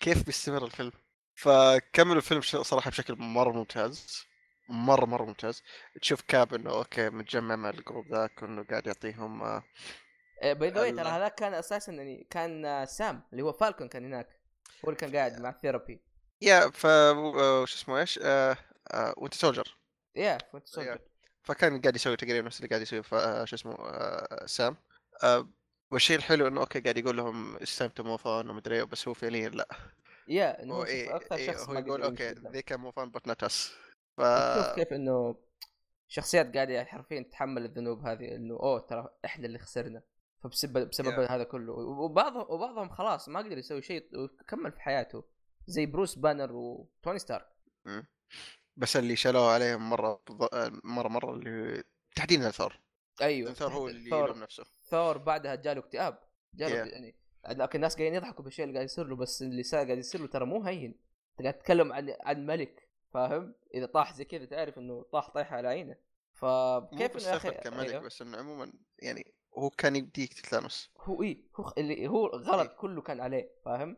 B: كيف بيستمر الفيلم فكملوا الفيلم ش- صراحه بشكل مره ممتاز مره مره ممتاز تشوف كاب انه اوكي متجمع مع الجروب ذاك وانه قاعد يعطيهم آه،
C: باي ذا واي
B: ال-
C: ترى هذاك كان اساسا يعني كان آه، سام اللي هو فالكون كان هناك هو اللي كان قاعد مع الثيرابي
B: يا ف آه، شو اسمه ايش آه، آه، وانت سولجر
C: يا فوت
B: يا.
C: سولجر
B: فكان قاعد يسوي تقريبا نفس اللي قاعد يسويه ف- آه، شو اسمه آه، سام آه، والشيء الحلو انه اوكي قاعد يقول لهم استمتعوا مو فان ومدري إيه، بس هو فعليا لا
C: يا إنه
B: هو
C: هو
B: ايه
C: اكثر
B: إيه،
C: شخص
B: هو
C: ما
B: يقول
C: قدر
B: اوكي
C: يمشي قدام.
B: ذي كان مو فان بس نوت اس ف آه.
C: شوف كيف انه شخصيات قاعده حرفيا تتحمل الذنوب هذه انه اوه ترى احنا اللي خسرنا فبسبب بسبب
B: Yeah.
C: هذا كله وبعضهم وبعضهم خلاص ما قدر يسوي شيء وكمل في حياته زي بروس بانر وتوني ستارك
B: بس اللي شالوه عليهم مره بض- مره مره اللي تحديدا ثور
C: ايوه
B: ثور هو اللي يلوم
C: ثور,
B: نفسه
C: ثور بعدها جاله اكتئاب جاله
B: Yeah.
C: يعني لكن الناس قاعدين يضحكوا بالشيء اللي قاعد يصير له بس اللي صار قاعد يصير له ترى مو هين انت قاعد تتكلم عن عن ملك فاهم اذا طاح زي كذا تعرف انه طاح طيحه على عينه
B: مو
C: فكيف
B: بس
C: انه يا اخي
B: سفر كملك
C: أيوه.
B: بس انه عموما يعني هو كان يبدي يقتل ثانوس
C: هو ايه هو خ- اللي هو غلط كله كان عليه فاهم؟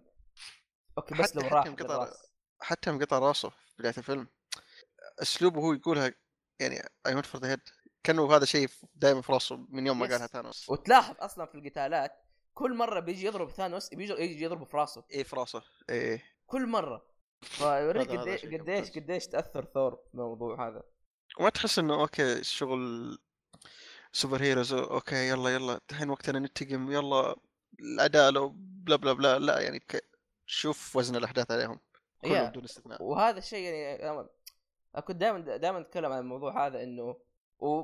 C: اوكي بس
B: إيه. حتى-
C: لو
B: حتى
C: راح
B: انقطع-
C: بالراس.
B: حتى يوم قطع راسه في بدايه الفيلم اسلوبه هو يقولها يعني اي ونت فور ذا هيد كانه هذا شيء دائما في راسه من يوم ما
C: Yes.
B: قالها ثانوس
C: وتلاحظ اصلا في القتالات كل مره بيجي يضرب ثانوس بيجي يجي يضربه في راسه
B: ايه في راسه ايه
C: كل مره فيوريك
B: هذا- هذا
C: قديش
B: شيء كان
C: قديش
B: ممتاز.
C: قديش تاثر ثور بالموضوع هذا
B: وما تحس انه اوكي الشغل سوبر هيروز اوكي يلا يلا الحين وقتنا ننتقم يلا العداله بلا بلا بلا لا يعني ك... شوف وزن الاحداث عليهم كلهم
C: يا.
B: بدون استثناء
C: وهذا الشيء يعني أنا- أنا كنت دائما دائما اتكلم عن الموضوع هذا انه و...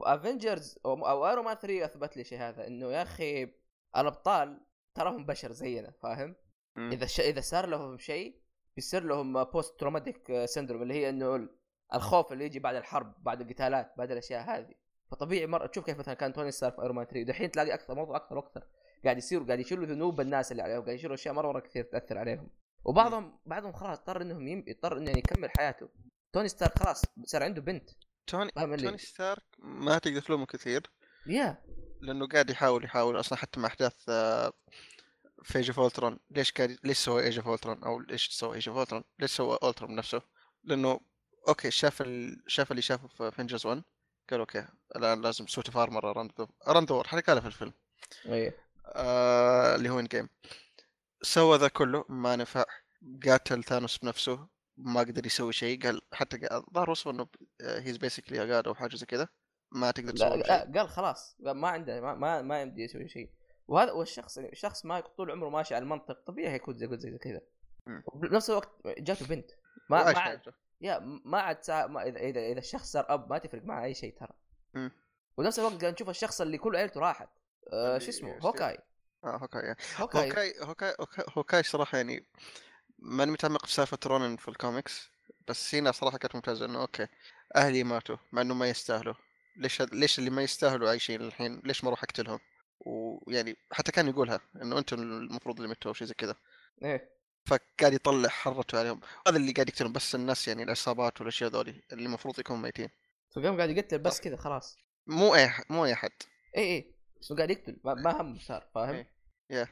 C: وافنجرز او, أو ايرون مان 3 اثبت لي شيء هذا انه يا اخي الابطال تراهم بشر زينا فاهم؟
B: مم.
C: اذا ش... اذا صار لهم شيء بيصير لهم بوست تروماتيك سندروم اللي هي انه ال- الخوف اللي يجي بعد الحرب بعد القتالات بعد الاشياء هذه فطبيعي مره تشوف كيف مثلا كان توني ستارك في ايرون مان 3 دحين تلاقي اكثر موضوع اكثر واكثر قاعد يصير وقاعد يشيلوا ذنوب الناس اللي عليهم قاعد يشيلوا اشياء مره مره كثير تاثر عليهم وبعضهم بعضهم خلاص اضطر انهم يم... يضطر انه يعني يكمل حياته توني ستارك خلاص صار عنده بنت
B: توني
C: فاهم اللي
B: توني ستارك ما تقدر تلومه كثير
C: يا
B: لانه قاعد يحاول يحاول اصلا حتى مع احداث آه، في ايج اوف اولترون ليش قاعد ليش سوى ايج اوف اولترون او ليش سوى ايج اوف اولترون ليش سوى اولترون نفسه لانه اوكي شاف ال... شاف اللي شافه في فينجرز 1 قال اوكي الان لازم سوت اوف ارمر اراوند اراوند ذا حركه قالها في الفيلم إيه.
C: ايه
B: آه... اللي هو ان جيم سوى ذا كله ما نفع قاتل ثانوس بنفسه آه، ما قدر يسوي شيء قال حتى قا- الظاهر وصف انه هيز بيسكلي جاد او حاجه زي كذا ما تقدر
C: لا
B: تسوي شيء
C: لا، قال خلاص قال ما عنده ما ما, ما يمدي يسوي شيء وهذا والشخص الشخص ما طول عمره ماشي على المنطق طبيعي هيكون زي زي كذا
B: مم.
C: وبنفس الوقت جاته بنت ما ما
B: وعايش
C: عاد
B: حياته.
C: يا ما عاد سا... ما اذا اذا اذا الشخص صار اب ما تفرق معه اي شيء ترى
B: مم.
C: ونفس الوقت قاعد نشوف الشخص اللي كل عيلته راحت آه
B: اللي
C: شو اسمه
B: ستيف.
C: هوكاي
B: اه هوكاي
C: هوكاي
B: هوكاي هوكاي هوكاي- هوكاي صراحه يعني ماني متعمق في سالفه رونن في الكوميكس بس هنا صراحه كانت ممتازه انه اوكي اهلي ماتوا مع انه ما يستاهلوا ليش ليش اللي ما يستاهلوا عايشين الحين ليش ما اروح اقتلهم ويعني حتى كان يقولها انه انتم المفروض اللي متوا أو شيء زي كذا
C: ايه
B: فقاعد يطلع حرته عليهم هذا اللي قاعد يقتلهم بس الناس يعني العصابات والاشياء ذولي اللي المفروض يكونوا ميتين
C: فقام قاعد يقتل بس كذا خلاص
B: مو اي ح- مو اي احد
C: اي اي بس قاعد يقتل ما, ما هم صار فاهم طيب.
B: إيه.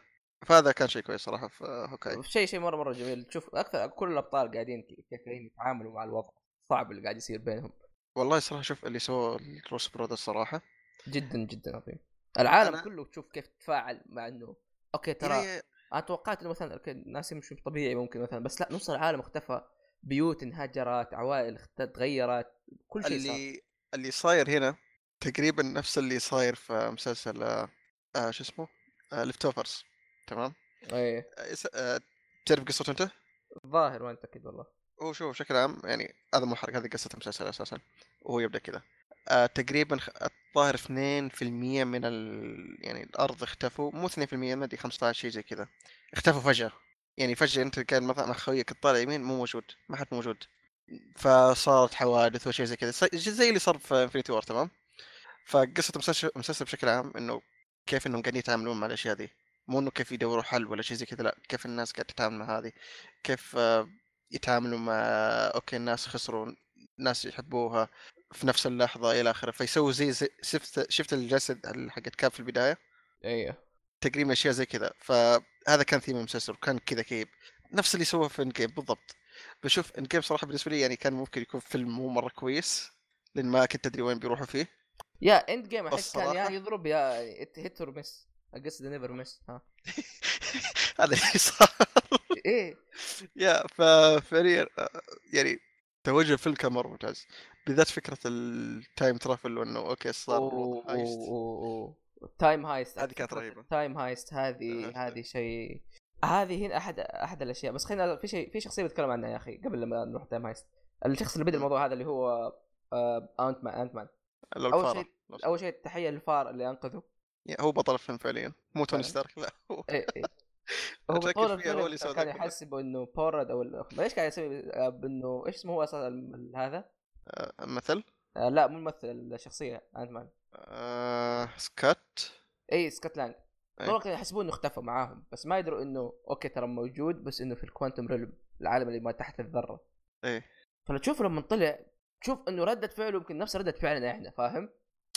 B: فهذا كان شيء كويس صراحه في هوكاي
C: شيء شيء مره مره جميل تشوف اكثر كل الابطال قاعدين كي- كيف قاعدين يتعاملوا مع الوضع الصعب اللي قاعد يصير بينهم
B: والله صراحه شوف اللي سووه الروس برودرز صراحه
C: جدا جدا عظيم العالم
B: أنا-
C: كله تشوف كيف تفاعل مع انه اوكي
B: يا-
C: ترى
B: يا-
C: انا توقعت انه مثلا اوكي الناس يمشوا طبيعي ممكن مثلا بس لا نص العالم اختفى بيوت انهجرت عوائل اخت- تغيرت كل شيء صار
B: اللي اللي صاير هنا تقريبا نفس اللي صاير في مسلسل آه، آه، شو اسمه ليفت اوفرز تمام
C: ايه
B: آه، يس- آه، تعرف قصته انت؟
C: الظاهر وين متاكد والله
B: هو شوف بشكل عام يعني هذا مو حرق هذه قصه المسلسل اساسا وهو يبدا كذا آه، تقريبا خ- الظاهر 2% من ال... يعني الارض اختفوا مو 2% ما ادري 15 شيء زي كذا اختفوا فجاه يعني فجاه انت كان مثلا مع خويك الطالع يمين مو موجود ما حد موجود فصارت حوادث وشيء زي كذا س- زي اللي صار في انفنتي وور تمام فقصه المسلسل المسلسل بشكل عام انه كيف انهم قاعدين يتعاملون مع الاشياء دي مو انه كيف يدوروا حل ولا شيء زي كذا لا كيف الناس قاعده تتعامل مع هذه كيف آه، يتعاملوا مع اوكي الناس خسروا ناس يحبوها في نفس اللحظه الى اخره فيسووا زي, زي شفت شفت الجسد حقت كاب في البدايه
C: ايه
B: تقريبا اشياء زي كذا فهذا كان ثيم المسلسل وكان كذا كئيب نفس اللي سووه في انجيم بالضبط بشوف انجيم صراحه بالنسبه لي يعني كان ممكن يكون فيلم مو مره كويس لان ما كنت ادري وين بيروحوا فيه
C: يا اند جيم احس كان يا
B: الصراحة-
C: يضرب يا هيت اور مس القصد نيفر مس ها
B: هذا اللي صار
C: ايه
B: يا ففعليا آه، يعني توجه الفيلم كان مره ممتاز بالذات فكره التايم ترافل وانه اوكي صار
C: و-
B: هايست.
C: و- و- تايم هايست
B: هذه كانت رهيبة.
C: تايم هايست هذه
B: آه.
C: هذه شيء هذه هنا احد احد الاشياء بس خلينا في شيء في شخصيه بتكلم عنها يا اخي قبل لما نروح تايم هايست الشخص اللي بدا الموضوع هذا اللي هو آه، انت مان انت مان اول
B: الفارة
C: شيء اول شيء تحيه للفار اللي انقذه
B: يعني هو بطل الفيلم فعليا مو توني
C: فعلاً.
B: ستارك لا هو
C: إيه، إيه. هو
B: أتذكر
C: بطول
B: فيها هو
C: الفيلم
B: اللي سوى
C: كان
B: ذاك
C: يحسب انه بورد او ال- ما ايش قاعد يسوي آه، انه ايش اسمه هو اصلا الم- هذا
B: آه، مثل
C: آه، لا مو الممثل الشخصيه انت مان
B: آه، سكات
C: اي سكوتلاند
B: أي.
C: دول كانوا يحسبون انه اختفى معاهم بس ما يدروا انه اوكي ترى موجود بس انه في الكوانتم ريلم العالم اللي ما تحت الذره
B: ايه
C: فلو تشوف لما طلع تشوف انه رده فعله يمكن نفس رده فعلنا احنا فاهم؟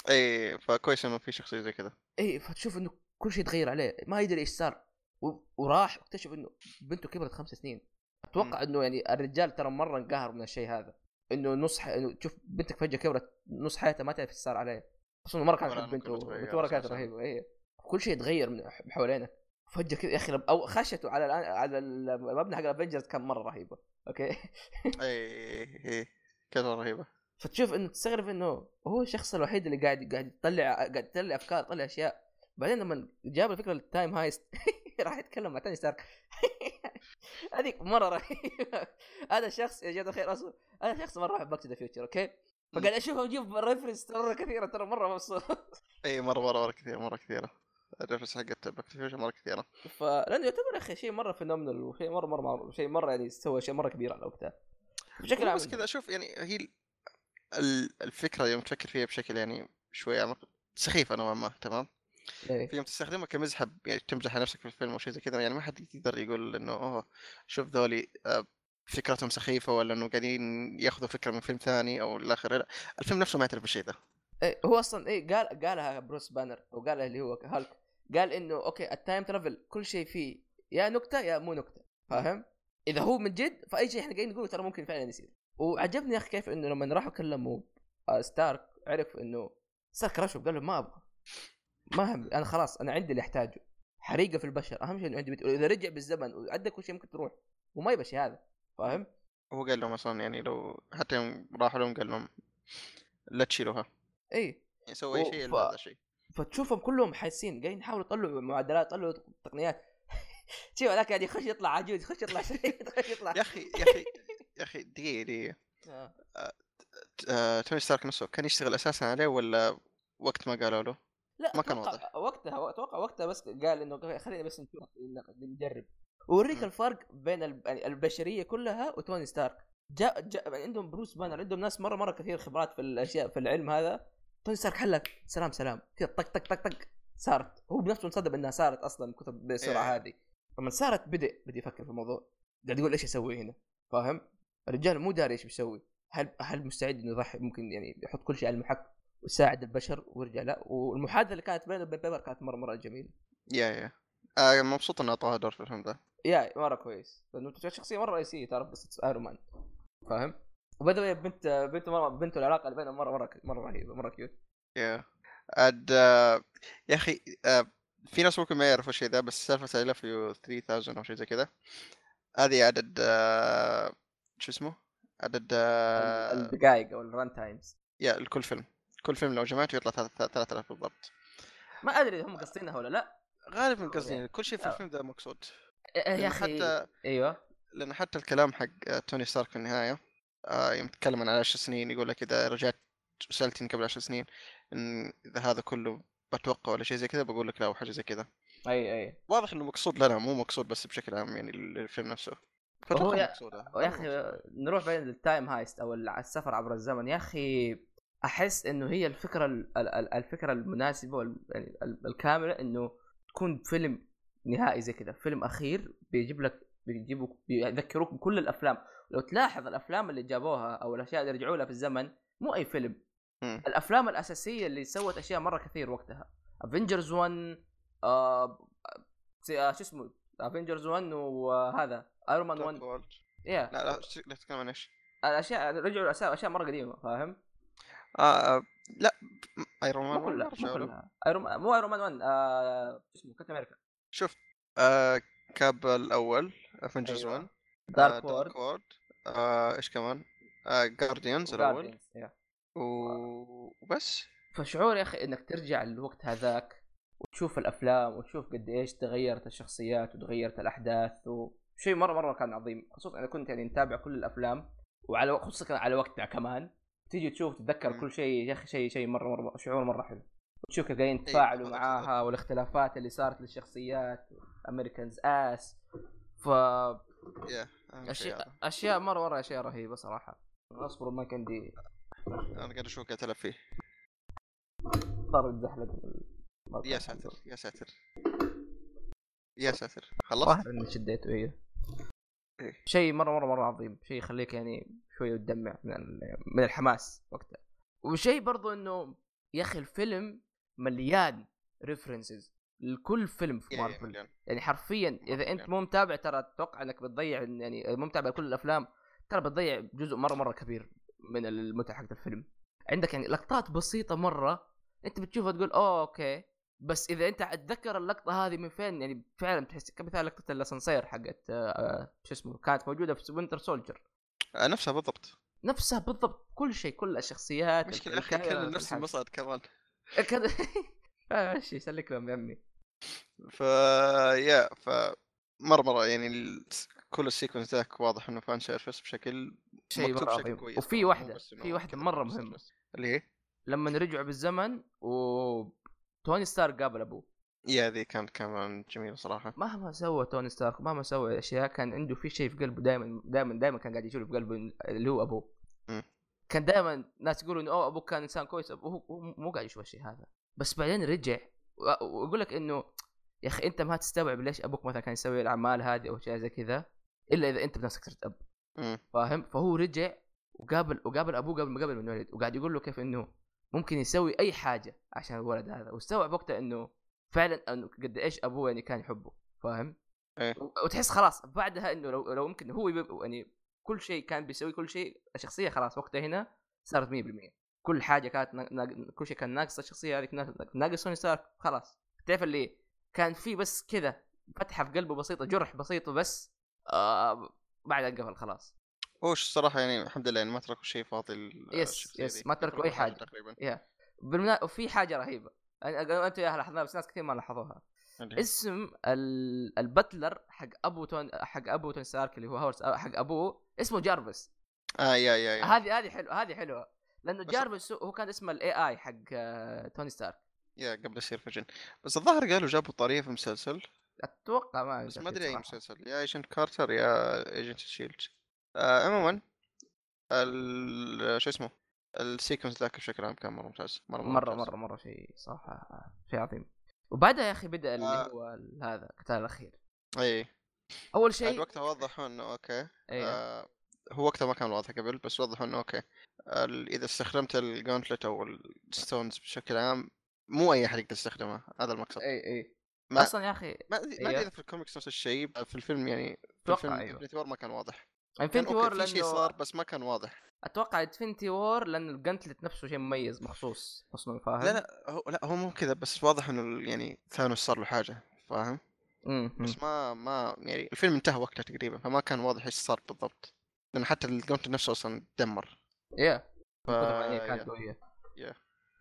B: ايه فكويس انه في شخصيه زي كذا
C: اي إيه، فتشوف انه كل شيء تغير عليه ما يدري ايش صار و- وراح اكتشف انه بنته كبرت خمس سنين اتوقع انه يعني الرجال ترى مره انقهر من الشيء هذا انه نص ح... إنه تشوف بنتك فجاه كبرت نص حياتها ما تعرف ايش صار عليها خصوصا مره كانت
B: ولا
C: تحب
B: أنا
C: بنته
B: كنت صغير،
C: بنته مره كانت
B: صح، صح.
C: رهيبه اي كل شيء تغير من ح- حوالينك فجاه كذا يا اخي لما- او خشته على الآن على المبنى حق الافنجرز كان مره رهيبه اوكي
B: ايه ايه كانت رهيبه
C: فتشوف انه تستغرب انه هو الشخص الوحيد اللي قاعد قاعد يطلع قاعد يطلع افكار يطلع اشياء بعدين لما جاب الفكره للتايم هايست راح يتكلم مع تاني ستارك هذيك مره رهيبه هذا الشخص يا جماعه الخير اصلا هذا شخص مره احب باك ذا فيوتشر اوكي فقاعد اشوفه يجيب ريفرنس مره كثيره ترى مره مبسوط
B: ايه مره مره مره كثيره مره كثيره الريفرنس حقت باك تو مره كثيره
C: فلانه يعتبر يا اخي شيء مره فينومينال وشيء مره مره معروف شيء مره يعني سوى شيء مره كبير على وقتها بشكل عام
B: بس كذا اشوف يعني هي ال- ال- الفكره يوم تفكر فيها بشكل يعني شوي عمق سخيفه نوعا ما تمام
C: إيه.
B: في يوم تستخدمها كمزحه ب- يعني تمزح على نفسك في الفيلم او شيء زي كذا يعني ما حد يقدر يقول انه اوه شوف ذولي آه، فكرتهم سخيفه ولا انه قاعدين ياخذوا فكره من فيلم ثاني او الى اخره لا الفيلم نفسه ما يعترف بالشيء ذا
C: إيه، هو اصلا ايه قال قالها بروس بانر او قالها اللي هو هالك قال انه اوكي التايم ترافل كل شيء فيه يا نكته يا مو نكته فاهم؟ اذا هو من جد فاي شيء احنا قاعدين نقوله ترى ممكن فعلا يصير وعجبني يا اخي كيف انه لما راحوا كلموا آه، ستارك عرف انه ستارك رشوا قال له ما ابغى ما هم انا خلاص انا عندي اللي احتاجه حريقه في البشر اهم شيء انه عندي بيت واذا رجع بالزمن وعدى كل شيء ممكن تروح وما يبى شيء هذا فاهم؟
B: هو قال لهم اصلا يعني لو حتى يوم راحوا لهم قال لهم لا تشيلوها
C: اي
B: يسوي اي شيء
C: أوه،
B: الا
C: ف-
B: هذا الشيء
C: فتشوفهم كلهم حاسين قاعدين يحاولوا يطلعوا معدلات يطلعوا تقنيات شوف هذاك قاعد يخش يطلع عجوز يخش يطلع شريط يخش يطلع
B: يا اخي يا اخي يا اخي دقيقه دقيقه
C: آه.
B: آه، توني ستارك نفسه كان يشتغل اساسا عليه ولا وقت ما قالوا له؟
C: لا
B: ما كان
C: أتوقع-
B: واضح.
C: وقتها اتوقع وقتها بس قال انه خلينا بس نشوف نجرب ووريك
B: مم.
C: الفرق بين الب- يعني البشريه كلها وتوني ستارك جاء جاء يعني عندهم بروس بانر عندهم ناس مره مره كثير خبرات في الاشياء في العلم هذا توني ستارك حلك سلام سلام كذا طق طق طق طق صارت هو بنفسه انصدم انها صارت اصلا من كثر بالسرعه
B: إيه.
C: هذه فمن صارت بدأ بدأ يفكر في الموضوع قاعد يقول ايش اسوي هنا فاهم الرجال مو داري ايش بيسوي هل هل مستعد انه يضحي ممكن يعني يحط كل شيء على المحك ويساعد البشر ويرجع لا والمحادثه اللي كانت بينه وبين بيبر كانت مره مره جميله
B: يا يا آه مبسوط انه اعطاها دور في الفيلم ذا
C: يا مره كويس لانه شخصيه مره رئيسيه تعرف قصه ايرون مان فاهم وبدا بنت بنت مره بنته العلاقه اللي بينهم مره مره مره رهيبه مره كيوت
B: يا عاد آه، يا اخي آه، في ناس ممكن ما يعرفوا الشيء ذا بس سالفه اي لاف يو 3000 او شيء زي كذا هذه عدد آه، شو اسمه؟ عدد آه،
C: الدقائق او الران تايمز
B: يا لكل فيلم كل فيلم لو جمعته يطلع 3000 بالضبط
C: ما ادري هم قصدينها ولا لا
B: غالبا قصدي يعني كل شيء في
C: آه.
B: الفيلم ذا مقصود
C: يا
B: لأن
C: اخي
B: حتى
C: ايوه
B: لان حتى الكلام حق آه، توني ستارك في النهايه آه، يوم تكلم عن 10 سنين يقول لك اذا رجعت سالتني قبل 10 سنين ان اذا هذا كله بتوقع ولا شيء زي كذا بقول لك لا وحاجه زي كذا
C: اي اي
B: واضح انه مقصود لنا مو مقصود بس بشكل عام يعني الفيلم نفسه فأتوقع
C: يا-
B: مقصود، آه.
C: يا اخي نروح بين التايم هايست او الع- السفر عبر الزمن يا اخي احس انه هي الفكره ال- ال- ال- الفكره المناسبه وال- يعني ال- الكامله انه تكون فيلم نهائي زي كذا فيلم اخير بيجيب لك بيجيبوك بيذكروك بكل الافلام لو تلاحظ الافلام اللي جابوها او الاشياء اللي رجعوا لها في الزمن مو اي فيلم
B: مم.
C: الافلام الاساسيه اللي سوت اشياء مره كثير وقتها افنجرز 1 آه سي- آه، شو اسمه افنجرز 1 وهذا ايرون مان 1
B: Dark World.
C: يا
B: لا لا ش- لا تتكلم عن ايش
C: الاشياء رجعوا الاشياء اشياء مره قديمه فاهم؟
B: آه آه، لا ايرون مان
C: مو كلها
B: شو
C: مو
B: هذا؟
C: كلها ايرون مو ايرون مان 1 آه، شو اسمه كابتن امريكا
B: شوف آه كاب الاول افنجرز
C: أيوة.
B: 1 آه،
C: دارك وورد
B: وورد آه ايش كمان؟ آه جارديانز الاول
C: وGuardians، يا. آه.
B: و- وبس
C: فشعور يا اخي انك ترجع للوقت هذاك وتشوف الافلام وتشوف قد ايش تغيرت الشخصيات وتغيرت الاحداث وشيء مره مره كان عظيم خصوصا انا كنت يعني متابع كل الافلام وعلى خصوصا على وقتها كمان تيجي تشوف تتذكر
B: مم.
C: كل شيء يا اخي شيء شيء مره مره شعور مره حلو وتشوف كيف قاعدين
B: إيه،
C: يتفاعلوا
B: طبعاً،
C: معاها
B: طبعاً.
C: والاختلافات اللي صارت للشخصيات امريكانز اس ف
B: أهم شيء
C: اشياء
B: هذا.
C: اشياء مره مره اشياء رهيبه صراحه اصبر ما كان عندي
B: انا قاعد اشوف قاعد العب فيه
C: اضطر اتزحلق
B: يا ساتر يا ساتر يا ساتر خلصت
C: الظاهر اني شديته ايوه
B: إيه.
C: شيء مره مره مره عظيم شيء يخليك يعني شويه تدمع من ال- من الحماس وقتها وشيء برضو انه يا اخي الفيلم مليان ريفرنسز لكل فيلم في
B: يا- يا
C: مارفل
B: مليون.
C: يعني حرفيا اذا انت
B: مليون.
C: مو متابع ترى اتوقع انك بتضيع يعني مو متابع كل الافلام ترى بتضيع جزء مره مره كبير من المتعه حقت الفيلم عندك يعني لقطات بسيطه مره انت بتشوفها تقول اوه اوكي بس اذا انت تتذكر اللقطه هذه من فين يعني فعلا تحس كمثال لقطه الاسانسير حقت آه، آه، شو اسمه كانت موجوده في وينتر سولجر
B: آه، نفسها بالضبط
C: نفسها بالضبط كل شيء كل الشخصيات
B: مشكلة اخي كان نفس المصعد كمان
C: المصدر ماشي سلك لهم يا عمي
B: ف يا ف مره مره يعني ال- كل السيكونس ذاك واضح انه فان سيرفس بشكل
C: شيء
B: مكتوب
C: مره
B: بشكل
C: عظيم
B: كويس طبعاً،
C: وفي
B: مو
C: واحده
B: بس إنه
C: في واحده
B: كذا
C: مره
B: بس
C: مهمه
B: بس. اللي هي
C: لما رجعوا بالزمن و توني ستارك قابل ابوه
B: يا ذي كانت كمان جميلة صراحة
C: مهما سوى توني ستارك مهما سوى اشياء كان عنده في شيء في قلبه دائما دائما دائما كان قاعد يشوف في قلبه اللي هو ابوه
B: مم.
C: كان دائما ناس يقولوا انه اوه ابوك كان انسان كويس أبوه هو هو مو قاعد يشوف الشيء هذا بس بعدين رجع و- واقول لك انه يا اخي انت ما تستوعب ليش ابوك مثلا كان يسوي الاعمال هذه او اشياء زي كذا الا اذا انت بنفسك صرت اب
B: مم.
C: فاهم فهو رجع وقابل وقابل ابوه قبل ما قبل ما ينولد وقاعد يقول له كيف انه ممكن يسوي اي حاجه عشان الولد هذا واستوعب وقتها انه فعلا انه قد ايش ابوه يعني كان يحبه فاهم؟
B: إيه.
C: و- وتحس خلاص بعدها انه لو لو ممكن هو يب- يعني كل شيء كان بيسوي كل شيء الشخصيه خلاص وقتها هنا صارت 100% كل حاجه كانت نا... نا... كل شيء كان ناقص الشخصيه هذيك نا- ناقص توني ستارك خلاص تعرف اللي كان في بس كذا فتحه في قلبه بسيطه جرح بسيطه بس آه بعد قفل خلاص
B: هو الصراحة يعني الحمد لله يعني ما تركوا شيء فاضي لل-
C: يس،
B: الشخصية
C: يس،
B: ذي.
C: ما تركوا أي
B: كل
C: حاجة.
B: تقريبا
C: بالمنا... وفي حاجه رهيبه انت يا لاحظناها بس ناس كثير ما لاحظوها اسم ال... البتلر حق ابو تون حق ابو تون سارك اللي هو هورس حق ابوه اسمه جارفيس
B: اه يا يا يا
C: هذه هذه حلوه هذه حلوه لانه
B: بس-
C: جارفيس هو كان اسمه الاي اي حق آه، توني ستارك
B: يا قبل يصير فجن بس الظاهر قالوا جابوا طريقه في مسلسل
C: اتوقع ما
B: بس
C: أدري
B: ما ادري اي
C: صراحة.
B: مسلسل يا ايجنت كارتر يا ايجنت شيلد آه عموما ال- شو اسمه السيكونس ذاك بشكل عام كان مره ممتاز مره
C: مره
B: ممتاز.
C: مره مره شيء صراحه شيء آه، عظيم وبعدها يا اخي بدا اللي
B: آه.
C: هو ال- هذا القتال الاخير
B: اي
C: اول
B: عاد
C: شيء
B: وقتها وضحوا انه اوكي
C: ايوه
B: آه هو وقتها ما كان واضح قبل بس وضحوا انه اوكي ال- اذا استخدمت الجونتلت او الستونز بشكل عام مو اي احد يقدر يستخدمها هذا المقصد
C: اي اي
B: ما-
C: اصلا إيه، يا اخي
B: ما أدري- ما
C: أيوه.
B: ادري اذا في الكوميكس نفس الشيء في الفيلم يعني في
C: أتوقع
B: الفيلم
C: أيوه.
B: Infinity War ما كان واضح كان
C: انفنتي
B: أوكي،
C: وور
B: في شيء
C: لانه
B: صار بس ما كان واضح
C: اتوقع انفنتي وور لان الجنتلت نفسه شيء مميز مخصوص مصنوع فاهم
B: لا لا هو لا هو مو كذا بس واضح انه ال- يعني ثانوس صار له حاجه فاهم
C: مم، مم.
B: بس ما ما يعني الفيلم انتهى وقتها تقريبا فما كان واضح ايش صار بالضبط لان حتى الجونت نفسه اصلا تدمر
C: يا
B: ف...
C: يعني
B: يا.
C: كانت قويه
B: يا.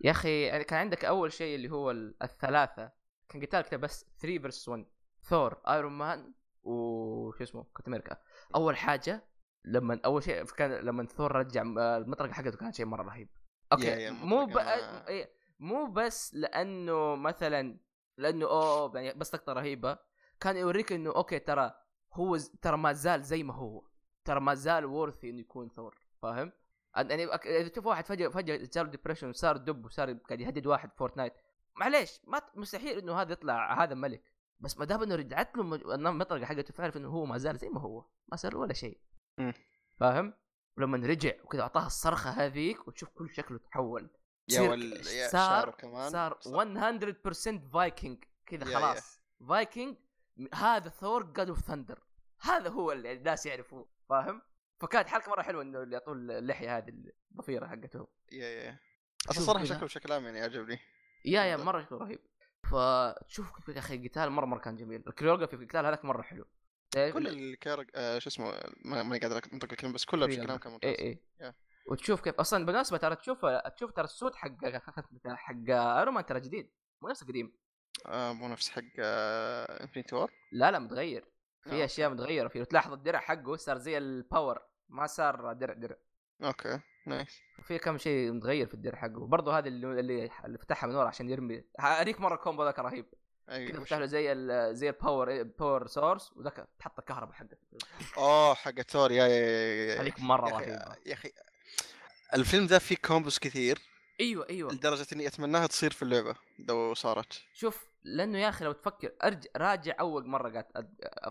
C: يا اخي يعني كان عندك اول شيء اللي هو ال- الثلاثه كان قتال كده بس 3 فيرس 1 ثور ايرون مان وشو اسمه كابتن امريكا اول حاجه لما اول شيء كان لما ثور رجع م- آه، المطرقه حقته كان شيء مره رهيب اوكي
B: يا- يا
C: مو ب...
B: المطرقة-
C: آه، إيه، مو بس لانه مثلا لانه اوه يعني بس لقطه رهيبه كان يوريك انه اوكي ترى هو ز- ترى ما زال زي ما هو ترى ما زال وورثي انه يكون ثور فاهم؟ أن- يعني أك- اذا تشوف واحد فجاه فجاه صار ديبرشن وصار دب وصار قاعد يهدد واحد في فورتنايت معليش ما ت- مستحيل انه هذا يطلع هذا ملك بس ما دام انه رجعت له مج- المطرقه حقته فعرف انه هو ما زال زي ما هو ما صار ولا شيء
B: مم.
C: فاهم؟ ولما رجع وكذا اعطاها الصرخه هذيك وتشوف كل شكله تحول
B: يا
C: تصير
B: وال... يا
C: صار-
B: شعره كمان
C: صار 100% فايكنج كذا
B: يا- يا.
C: خلاص فايكنج هذا ثور جاد اوف ثندر هذا هو اللي الناس يعرفوه فاهم فكانت حركه مره حلوه انه اللي يعطوه اللحيه هذه الضفيره حقته
B: يا يا اصلا
C: شوف
B: صراحه
C: كذا.
B: شكله بشكل عام يعني عجبني
C: يا يا
B: بالضبط.
C: مره شيء رهيب فتشوف كيف يا اخي القتال مره مره كان جميل الكريوغرافي في القتال هذاك مره حلو
B: كل الكارك آه شو اسمه ما- ماني قادر انطق الكلمه بس كله بشكل عام كان ممتاز
C: اي اي
B: يا.
C: إيه، وتشوف كيف اصلا بالمناسبه ترى تشوف تشوف ترى السود حق حق ايرون مان ترى جديد مو نفس القديم
B: آه مو نفس حق آه انفنتي وور
C: لا لا متغير في
B: آه،
C: اشياء متغيره فيه وتلاحظ الدرع حقه صار زي الباور ما صار درع درع
B: اوكي نايس
C: في كم شيء متغير في الدرع حقه برضه هذا اللي اللي, اللي فتحها من ورا عشان يرمي هوريك مره الكومبو ذاك رهيب كذا
B: ايوه
C: فتح له زي ال زي الباور الباور سورس وذاك تحط الكهرباء حقته
B: اوه آه، حق ثور يا يا- يا يا- يا
C: هذيك مره
B: إيه. يا أخي-
C: رهيبه
B: يا اخي الفيلم ذا فيه كومبوز كثير أيوة،
C: ايوه ايوه
B: لدرجه اني اتمناها تصير في اللعبه لو صارت
C: شوف لانه يا اخي لو تفكر ارجع راجع اول مره قالت في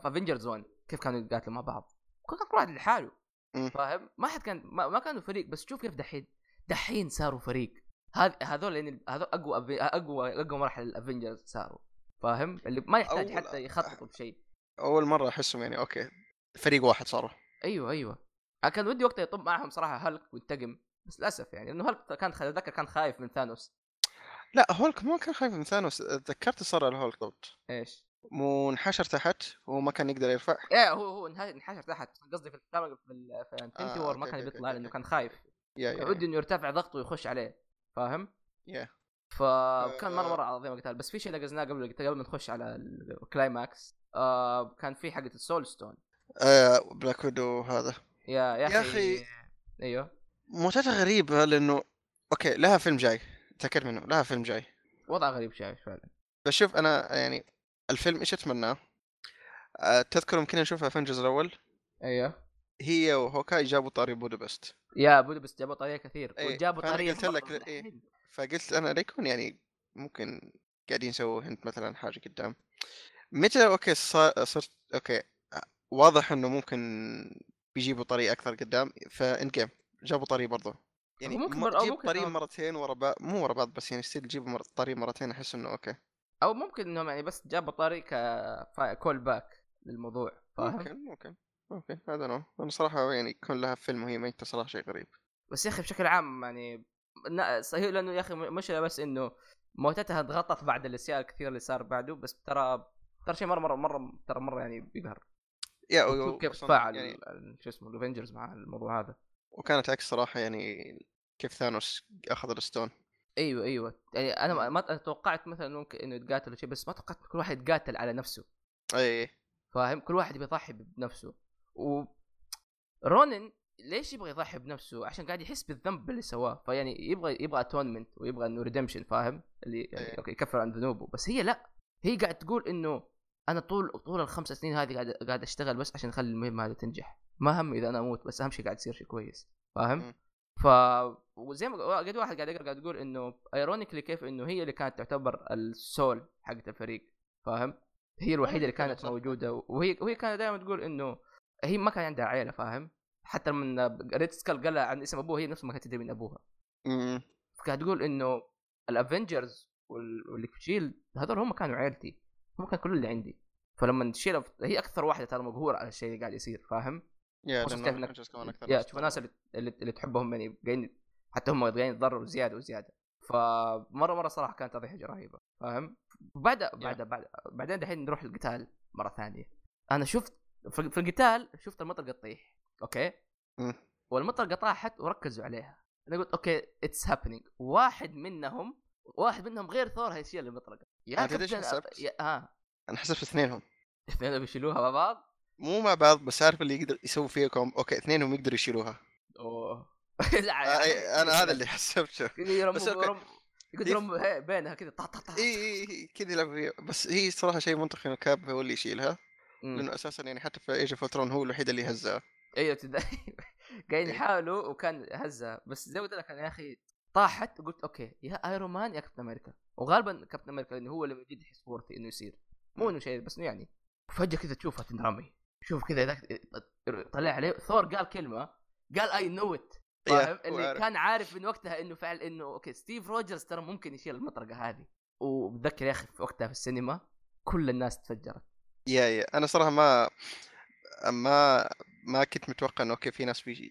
C: افنجرز 1 كيف كانوا يقاتلوا مع بعض كل كان كل واحد لحاله
B: مم.
C: فاهم ما حد كان ما, ما كانوا فريق بس شوف كيف دحين دحين صاروا فريق هذ هذول يعني هذول اقوى أف- اقوى اقوى مرحله الافنجرز صاروا فاهم اللي ما يحتاج
B: أول-
C: حتى يخططوا بشيء
B: اول مره احسهم يعني اوكي فريق واحد صاروا
C: ايوه ايوه أنا كان ودي وقتها يطب معهم صراحه هلك وينتقم بس للاسف يعني انه هلك كان خ- ذكر كان خايف من ثانوس
B: لا هولك ما كان خايف من ثانوس تذكرت صار على هولك ضبط
C: ايش؟
B: مو انحشر تحت وهو ما كان يقدر يرفع
C: ايه هو هو انه- انحشر تحت قصدي في الثامن- في ال- في انفنتي
B: آه،
C: وور ما
B: أوكي،
C: كان
B: أوكي،
C: بيطلع
B: أوكي،
C: لانه
B: أوكي. أيوة،
C: كان خايف
B: يا يا-
C: ودي
B: يا
C: انه يرتفع ضغطه ويخش عليه فاهم؟
B: يا.
C: فكان مره
B: آه.
C: مره عظيم القتال بس في شيء نقزناه قبل قبل ما نخش على الكلايماكس آه كان في حقه السول ستون
B: آه بلاك ويدو هذا
C: يا يا
B: يا
C: اخي
B: أخي.
C: ايوه
B: متعتها غريبه لانه اوكي لها فيلم جاي تاكد منه لها فيلم جاي
C: وضع غريب شوي فعلا
B: بس شوف انا يعني الفيلم ايش اتمناه؟ آه تذكر يمكن نشوفها فنجز الاول
C: ايوه
B: هي وهوكاي جابوا طاري بودابست
C: يا بودبست جابوا طريقه كثير
B: إيه،
C: وجابوا
B: فأنا
C: طريقه
B: قلت لك
C: مرة
B: إيه.
C: مستحيل.
B: فقلت انا ليكون يعني ممكن قاعدين يسووا هنت مثلا حاجه قدام متى اوكي صار- صرت اوكي واضح انه ممكن بيجيبوا طريق اكثر قدام فان جيم جابوا طريق برضه يعني
C: ممكن
B: ممكن
C: مر- أو
B: جيب
C: ممكن آه.
B: طريق
C: كمان.
B: مرتين ورا بعض مو ورا بعض بس يعني ستيل جيبوا مر... طريق مرتين احس انه اوكي
C: او ممكن انهم يعني بس جابوا طريقه كول باك للموضوع فاهم
B: ممكن ممكن ممكن هذا نو انا صراحه يعني يكون لها فيلم وهي ميتة صراحه شيء غريب
C: بس يا اخي بشكل عام يعني نا- صحيح لانه يا اخي مش بس انه موتتها ضغطت بعد الاشياء الكثير اللي صار بعده بس ترى ترى شيء مره مره مره ترى مره يعني بيقهر
B: يا
C: وشوف
B: و-
C: كيف
B: وأصلاً
C: تفاعل
B: يعني
C: ال- شو اسمه الافنجرز مع الموضوع هذا
B: وكانت عكس صراحه يعني كيف ثانوس اخذ الستون
C: ايوه ايوه يعني انا ما- ما توقعت مثلا ممكن انه يتقاتل شيء بس ما توقعت كل واحد يتقاتل على نفسه
B: اي
C: فاهم كل واحد بيضحي بنفسه و رونن ليش يبغى يضحي بنفسه عشان قاعد يحس بالذنب باللي سواه فيعني يبغى يبغى اتونمنت ويبغى انه ريدمشن فاهم اللي يعني
B: إيه.
C: أوكي يكفر عن ذنوبه بس هي لا هي قاعد تقول انه انا طول طول الخمس سنين هذه قاعد قاعد اشتغل بس عشان اخلي المهمه هذه تنجح ما هم اذا انا اموت بس اهم شيء قاعد يصير شيء كويس فاهم
B: مم.
C: ف وزي ما قد واحد قاعد يقرا قاعد يقول انه ايرونيكلي كيف انه هي اللي كانت تعتبر السول حقت الفريق فاهم هي الوحيده اللي
B: يمكن
C: كانت
B: صح.
C: موجوده وهي وهي كانت دائما تقول انه هي ما كان عندها عيله فاهم حتى من ريد سكال قال لها عن اسم ابوها هي نفسها ما كانت تدري من ابوها إمم.
B: أمم.
C: قاعد تقول انه الافنجرز والشيلد هذول هم كانوا عيلتي هم كانوا كل اللي عندي فلما تشيل هي اكثر واحده ترى مبهوره على الشيء اللي قاعد يصير فاهم؟
B: يا
C: خصوصاً
B: لأنه
C: كيف إنك-
B: Avengers كمان اكثر
C: يا
B: ناس
C: تشوف الناس اللي, اللي, اللي تحبهم يعني قاعدين حتى هم قاعدين يتضرروا زياده وزياده فمره مره صراحه كانت تضحيه رهيبه فاهم؟ بعد بعد بعد بعدين دحين نروح القتال مره ثانيه انا شفت في في القتال شفت المطر قد تطيح اوكي؟
B: مم.
C: والمطرقه طاحت وركزوا عليها انا قلت اوكي اتس هابينج واحد منهم واحد منهم غير ثور هيشيل المطرقه يا
B: أنا تدري إيش
C: كابتن
B: حسبت؟
C: يا ها
B: انا حسبت اثنينهم
C: الاثنين بيشيلوها مع بعض
B: مو مع بعض بس عارف اللي يقدر يسوي فيها كوم اوكي اثنينهم يقدروا يشيلوها
C: اوه
B: آه،
C: يعني
B: إي، انا هذا اللي حسبته بس أوكي. إيه. يف-
C: قلت لهم هي بينها كذا طا طا طا
B: اي اي إي، كذا يلعب فيها بس هي صراحه شيء منطقي انه كاب هو اللي يشيلها
C: مم.
B: لانه اساسا يعني حتى في ايج اوف هو الوحيد اللي هزها
C: ايوه تد- قاعدين
B: إيه.
C: يحاولوا وكان هزها بس زي ما قلت لك انا يا اخي طاحت قلت اوكي يا ايرون مان يا كابتن امريكا وغالبا كابتن امريكا لانه هو اللي موجود يحس بورتي انه يصير مو انه شيء بس إنه يعني فجاه كذا تشوفها تنرمي شوف كذا ذاك طلع عليه ثور قال كلمه قال اي نو ات فاهم
B: هو
C: طيب، اللي
B: عارف.
C: كان عارف من وقتها انه فعل انه اوكي ستيف روجرز ترى ممكن يشيل المطرقه هذه وبتذكر يا اخي في وقتها في السينما كل الناس تفجرت
B: يا يا انا صراحه ما ما ما كنت متوقع انه اوكي في ناس بي...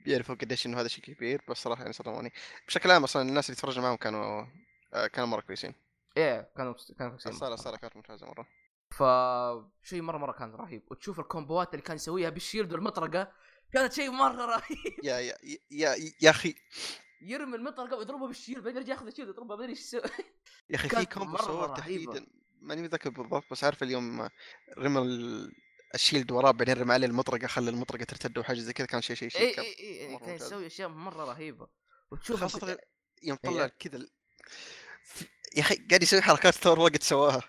B: بيعرفوا قديش انه هذا شيء كبير بس صراحه يعني صدموني بشكل عام اصلا الناس اللي تفرجنا معهم كانوا آه، كانوا مره كويسين
C: ايه كانوا كانوا في السينما.
B: الصاله الصاله كانت ممتازه مره
C: فشيء مره مره كان رهيب وتشوف الكومبوات اللي كان يسويها بالشيلد والمطرقه كانت شيء مره رهيب
B: يا يا يا يا اخي
C: يرمي المطرقه ويضربها بالشيلد بعدين يرجع ياخذ الشيلد يضربها بعدين ايش يسوي
B: يا اخي في
C: كانت
B: كومبو
C: مرة
B: صور
C: رهيبة.
B: تحديدا ماني متذكر بالضبط بس عارف اليوم رمى ال- الشيلد وراه بعدين رمى عليه المطرقه خلى المطرقه ترتد وحاجه زي كذا كان شيء شيء شيء
C: اي
B: كان-
C: اي اي يعني
B: مرة
C: كان
B: ممتاز.
C: يسوي اشياء مره رهيبه وتشوف
B: خاصه
C: أصلاً-
B: غير- يوم
C: إيه.
B: طلع كذا ال- في- يا اخي قاعد يسوي حركات ثور وقت سواها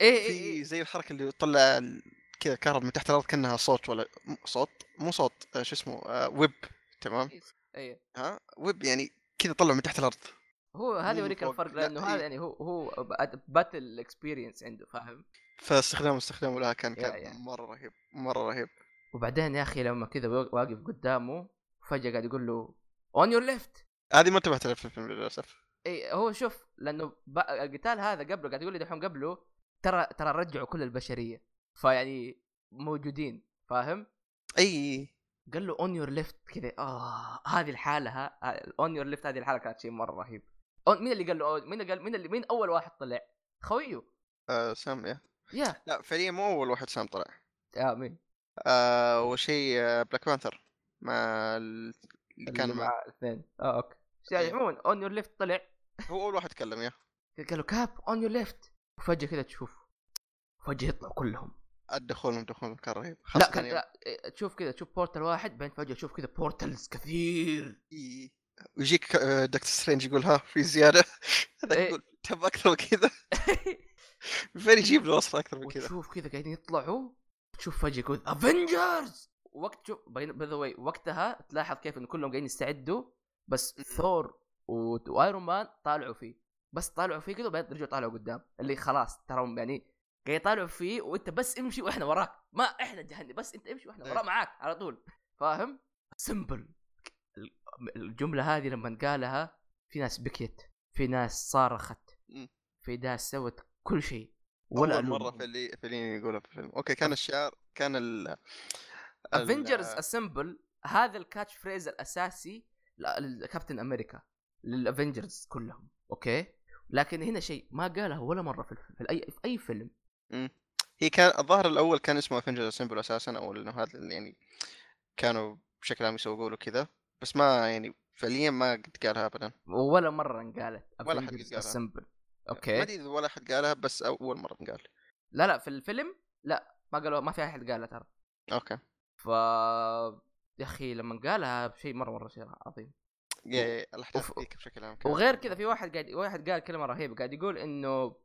C: اي اي
B: في
C: اي
B: زي الحركه اللي طلع ال- كذا كهرب من تحت الارض كانها صوت ولا م- صوت مو صوت آه، شو اسمه آه، ويب
C: إيه.
B: تمام
C: اي
B: ها ويب يعني كذا طلع من تحت الارض
C: هو هذا
B: مو
C: يوريك
B: فوق.
C: الفرق
B: لا، إيه.
C: لانه
B: إي.
C: هذا يعني هو هو باتل اكسبيرينس عنده فاهم
B: فاستخدامه استخدامه لها كان
C: يا- يا.
B: كان مره رهيب مره رهيب
C: وبعدين يا اخي لما كذا وا- واقف قدامه فجاه قاعد يقول له اون يور ليفت
B: هذه ما انتبهت لها في الفيلم للاسف
C: اي إيه، هو شوف لانه ب... القتال هذا قبله قاعد يقول لي دحين قبله ترى ترى رجعوا كل البشريه فيعني موجودين فاهم؟
B: اي
C: قال له اون يور ليفت كذا اه هذه آه، الحاله اون يور ليفت هذه الحاله كانت شيء مره رهيب On- مين اللي قال له مين اللي قال مين اللي مين اول واحد طلع؟ خويه
B: آه سام يا
C: يا
B: لا فعليا مو اول واحد سام طلع
C: يا مين
B: آه وشيء آه بلاك بانثر مع ال- اللي
C: اللي
B: كان مع
C: الاثنين اه اوكي يعني عموما اون يور ليفت طلع
B: هو اول واحد تكلم يا
C: قال له كاب اون يور ليفت وفجاه كذا تشوف فجاه يطلعوا كلهم
B: الدخول دخولهم كان رهيب يعني
C: لا
B: خاصه
C: كان
B: يوم-
C: لا إيه، تشوف كذا تشوف بورتال واحد بعدين فجاه تشوف كذا بورتالز كثير
B: إي. ويجيك آه، دكتور سترينج يقول ها في زياده هذا
C: إيه.
B: يقول تب اكثر من كذا من فين يجيب له اصلا اكثر من كذا
C: وتشوف كذا قاعدين يطلعوا تشوف فجاه يقول افنجرز وقت شوف باي ذا واي وقتها تلاحظ كيف ان كلهم قاعدين يستعدوا بس ثور و- وايرون مان طالعوا فيه بس طالعوا فيه كذا بعدين رجعوا طالعوا قدام اللي خلاص ترى يعني قاعد يطالعوا فيه وانت بس امشي واحنا وراك ما احنا جهنم بس انت امشي واحنا
B: إيه.
C: ورا معاك على طول فاهم سمبل الجمله هذه لما قالها في ناس بكيت في ناس صارخت
B: مم.
C: في ناس سوت كل شيء
B: ولا
C: ولا
B: أول
C: ألومهم.
B: مره في اللي في اللي يقولها في الفيلم اوكي كان الشعار كان ال
C: افنجرز
B: ال-
C: اسمبل هذا الكاتش فريز الاساسي ل- لكابتن امريكا للافنجرز كلهم اوكي لكن هنا شيء ما قالها ولا مره في, الف... في اي في اي فيلم
B: هي كان الظاهر الاول كان اسمه افنجر سيمبل اساسا او انه هذا اللي يعني كانوا بشكل عام يسوقوا له كذا بس ما يعني فعليا ما قد قالها ابدا
C: ولا مره انقالت
B: ولا حد
C: Avengers
B: قالها. يعني
C: Assemble.
B: ما
C: اوكي
B: ادري اذا ولا حد قالها بس اول مره قال
C: لا لا في الفيلم لا ما قالوا ما في احد قالها ترى
B: اوكي
C: ف يا اخي لما قالها شيء مره مره شيء عظيم
B: يا- الاحداث
C: وف-
B: ذيك بشكل عام كانت-
C: وغير كذا في واحد قاعد واحد قال كلمه رهيبه قاعد يقول انه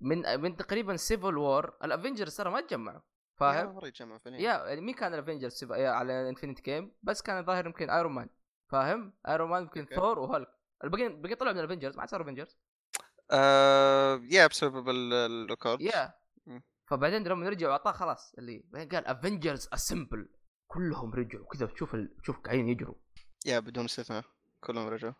C: من من تقريبا سيفل وور الافنجرز ترى ما تجمعوا
B: يا
C: فاهم؟
B: مره يجمع فيلم
C: يا يعني مين كان الافنجرز على انفنت جيم بس كان الظاهر يمكن ايرون مان فاهم؟ ايرون مان يمكن
B: أوكي.
C: ثور وهولك الباقيين الباقيين طلعوا من الافنجرز ما عاد صاروا افنجرز
B: آه، يا بسبب ال- الريكورد
C: يا
B: مم.
C: فبعدين لما رجعوا اعطاه خلاص اللي بعدين قال افنجرز اسمبل كلهم رجعوا كذا تشوف ال- تشوف قاعدين يجروا
B: يا بدون استثناء كلهم رجعوا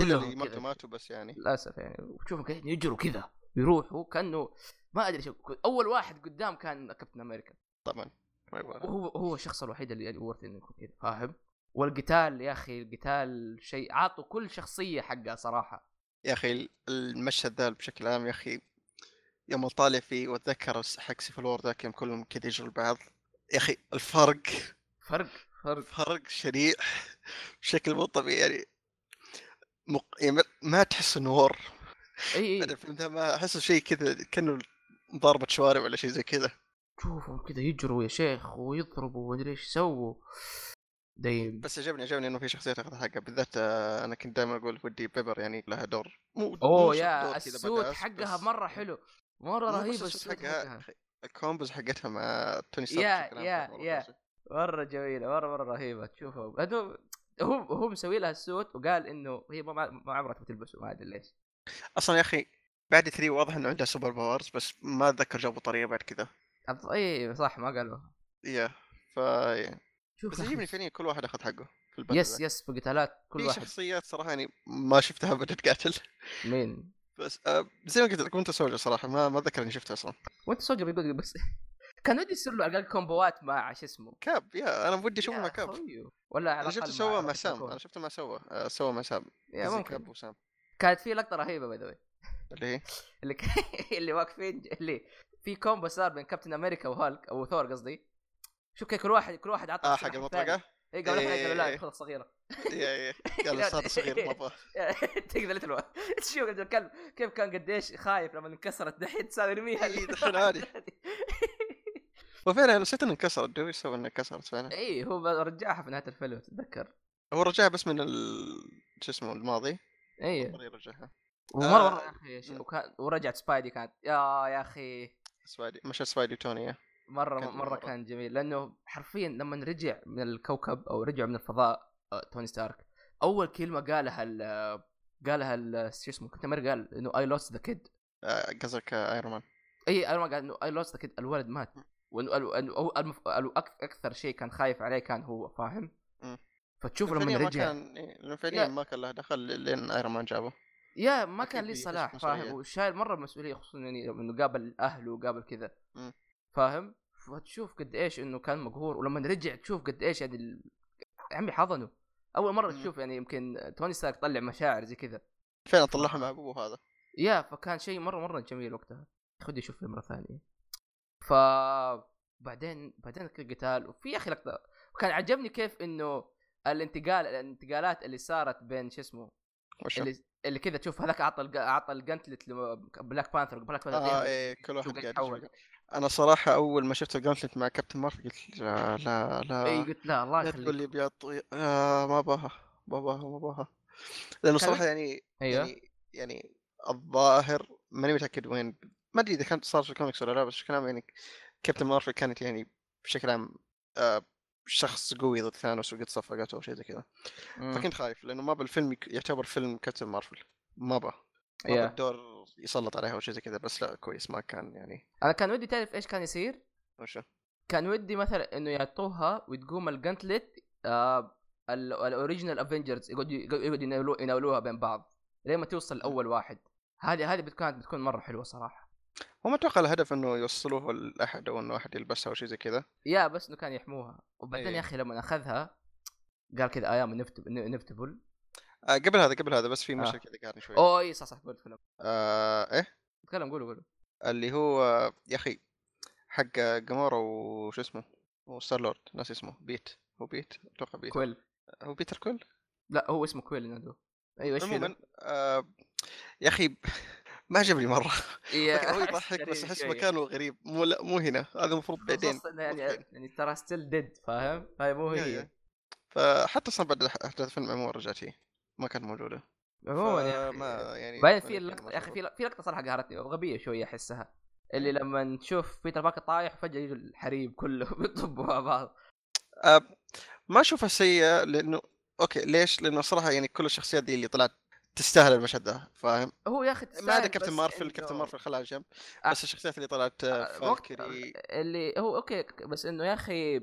B: اللي
C: كلهم
B: ماتوا
C: كذا.
B: ماتوا بس يعني
C: للاسف يعني وتشوفهم قاعدين يجروا كذا يروحوا كانه ما ادري شو اول واحد قدام كان كابتن امريكا
B: طبعا ما يبغى.
C: وهو هو الشخص الوحيد اللي ورث انه يكون كذا فاهم والقتال يا اخي القتال شيء عطوا كل شخصيه حقها صراحه
B: يا اخي المشهد ذا بشكل عام يا اخي يوم طالع فيه واتذكر حق سيفل وور ذاك يوم كلهم كذا يجروا لبعض يا اخي الفرق
C: فرق فرق
B: فرق شنيع بشكل مو طبيعي يعني مق... يعني ما- ما تحس انه وور
C: اي
B: أنا
C: اي
B: الفيلم ذا ما احسه شيء كذا كانه ضربة شوارع ولا شيء زي كذا
C: تشوفهم كذا يجروا يا شيخ ويضربوا ومدري ايش يسووا دايم
B: بس عجبني عجبني انه في شخصيات اخذ حقها بالذات آه، انا كنت دائما اقول ودي بيبر يعني لها دور مو مو
C: اوه
B: شرط
C: يا
B: دور كذا
C: السوت
B: badass،
C: حقها
B: بس-
C: مره حلو مره
B: مو بس
C: رهيب
B: السوت
C: السوت حقها
B: الكومبوز حقتها مع توني ستارك
C: يا-
B: بشكل عام
C: يا-
B: كانت مرة
C: يا.
B: كويسة.
C: مره جميله مره مره رهيبه تشوفه هدو هو هو مسوي لها السوت وقال انه هي ما, ما عمرها تبي تلبسه ما ادري ليش
B: اصلا يا اخي بعد 3 واضح انه عندها سوبر باورز بس ما اتذكر جابوا طريقه بعد كذا
C: أط- اي صح ما قالوها
B: يا ف
C: شوف
B: بس
C: يا أخي،
B: يعجبني فعليا كل واحد اخذ حقه في البلد
C: يس
B: ذا.
C: يس في قتالات كل
B: في
C: واحد
B: شخصيات صراحه يعني ما شفتها ابدا تقاتل
C: مين
B: بس آه، زي ما قلت لك وانت سولجر صراحه ما ما اتذكر اني شفتها اصلا
C: وانت سوجر يقول بس كان ودي يصير له على الاقل كومبوات مع شو اسمه
B: كاب يا انا ودي اشوفه
C: يا
B: مع كاب
C: خويو. ولا على
B: انا شفته
C: الأقل
B: سوا مع
C: روبرت
B: سام
C: داكوري.
B: انا شفته مع سوا آه، سوا مع سام
C: يا
B: قصدي
C: ممكن
B: كاب وسام
C: كانت في لقطه رهيبه باي ذا واي
B: اللي هي آه،
C: اللي اللي واقفين اللي في كومبو صار بين كابتن امريكا وهالك او ثور قصدي شوف كيف كل واحد كل واحد عطى
B: اه
C: سلاح
B: حق
C: الثاني.
B: المطرقه
C: اي قبل
B: إيه.
C: إيه قالوا لا خذ الصغيره
B: يا يا قال صار صغير ما أبغاه.
C: تقدر تلوى تشوف الكلب كيف كان قديش خايف لما انكسرت دحين تساوي يرميها
B: إيه، دحين عادي. وفعلا نسيت انه انكسرت دو ايش سوى انه انكسرت فعلا
C: اي إيه، هو رجعها في نهايه الفيلم تتذكر
B: هو رجعها بس من ال شو اسمه الماضي
C: اي
B: مرة رجعها
C: ومره
B: آه.
C: مره يا اخي شيء- وكان ورجعت سبايدي كانت يا يا اخي
B: سبايدي مش سبايدي وتوني يا.
C: مره
B: كان
C: مره
B: مرة.
C: كان جميل لانه حرفيا لما رجع من الكوكب او رجع من الفضاء آه، توني ستارك اول كلمه قالها ال- قالها ال- شو اسمه كنت أمريكا قال انه اي لوست ذا كيد
B: آه، قصدك آه، ايرون مان
C: اي انا ما قال انه اي لوست كيد الولد مات وانه ال- انه هو المف... ال- أك- اكثر شيء كان خايف عليه كان هو فاهم؟
B: مم.
C: فتشوف
B: فعلياً
C: لما
B: ما
C: رجع كان...
B: كان إيه، لأنه فعليا
C: يا.
B: ما كان له دخل لين ايرون مان جابه
C: يا ما
B: أكيد
C: كان لي
B: بيحس
C: صلاح
B: بمسؤولية.
C: فاهم وشايل مره مسؤوليه خصوصا يعني لما انه قابل اهله وقابل كذا
B: مم.
C: فاهم؟ فتشوف قد ايش انه كان مقهور ولما رجع تشوف قد ايش يعني ال... يا عمي حضنه اول مره
B: مم.
C: تشوف يعني يمكن توني ستارك طلع مشاعر زي كذا
B: فعلا طلعها مع ابوه هذا
C: يا فكان شيء مره مره جميل وقتها خدي شوف فيلم مره ثانيه ف بعدين بعدين القتال وفي يا اخي لقطه كان عجبني كيف انه الانتقال الانتقالات اللي صارت بين شو اسمه
B: وش
C: اللي اللي كذا تشوف هذاك اعطى الج- اعطى الجنتلت لبلاك بانثر بلاك بانثر
B: اه
C: يهرب.
B: ايه كل واحد
C: شو قاعد
B: قاعد
C: يتحول
B: يشوف. انا صراحه اول ما شفت الجانتلت مع كابتن مارفل قلت لا لا
C: اي
B: لا
C: قلت لا الله
B: آه، لا تقول
C: إيه، يخليك
B: لي بيعطي آه ما باها ما باها ما باها لانه
C: كان-
B: صراحه يعني
C: ايوه
B: يعني يعني الظاهر ماني متاكد وين ما ادري اذا كان صار في الكوميكس ولا لا بس بشكل عام يعني كابتن مارفل كانت يعني بشكل عام آه شخص قوي ضد ثانوس وقد صفقته او شيء زي كذا
C: مم.
B: فكنت خايف لانه ما بالفيلم يك- يعتبر فيلم كابتن مارفل ما با ما
C: يا.
B: yeah. الدور يسلط عليها او شيء زي كذا بس لا كويس ما كان يعني
C: انا كان ودي تعرف ايش كان يصير
B: وشو
C: كان ودي مثلا انه يعطوها وتقوم الجنتلت آه الاوريجنال افنجرز يقعدوا يقعدوا يناولو- يناولوها بين بعض لين ما توصل لاول واحد هذه هذه بت- كانت بتكون مره حلوه صراحه
B: وما اتوقع الهدف انه يوصلوه لاحد او انه احد يلبسها او شيء زي كذا
C: يا بس انه كان يحموها وبعدين
B: إيه.
C: يا اخي لما اخذها قال كذا ايام انفتبل
B: آه قبل هذا قبل هذا بس في مشهد
C: آه.
B: كذا قاعد شوي
C: اوه اي صح صح قلت فيلم
B: آه ايه
C: تكلم قولوا قولوا
B: اللي هو يا اخي حق جامورا وش إيه. اسمه وستار لورد ناس اسمه بيت هو بيت اتوقع بيت
C: كويل
B: هو بيتر كل
C: لا هو اسمه كويل ينادوه ايوه ايش في
B: عموما آه يا اخي ما عجبني مره
C: يا-
B: هو يضحك بس احس
C: شوية.
B: مكانه غريب مو لا مو هنا هذا المفروض بعدين
C: خصوصاً إنه يعني
B: بعدين.
C: يعني ترى ستيل ديد فاهم؟ هاي مو
B: يا-
C: هي
B: يا. فحتى اصلا بعد أح- احداث الفيلم مو رجعت هي ما كانت موجوده
C: عموما يا أخي.
B: ما يعني
C: بعدين
B: ما
C: في
B: كان
C: اللقطه يا اخي
B: مشهور.
C: في لق- في لقطه صراحه قهرتني غبيه شويه احسها اللي
B: إيه.
C: لما تشوف بيتر باكر طايح وفجاه يجوا الحريم كله بيطبوا مع بعض
B: آه، ما اشوفها سيئه لانه اوكي ليش؟ لانه صراحه يعني كل الشخصيات دي اللي طلعت تستاهل المشهد ده فاهم؟
C: هو يا اخي
B: ما عدا
C: تستاهل
B: كابتن
C: بس
B: مارفل
C: إنه-
B: كابتن مارفل خلاها جنب
C: آه.
B: بس الشخصيات اللي طلعت
C: آه، وقت-
B: فالكري
C: اللي هو اوكي ك- بس انه يا اخي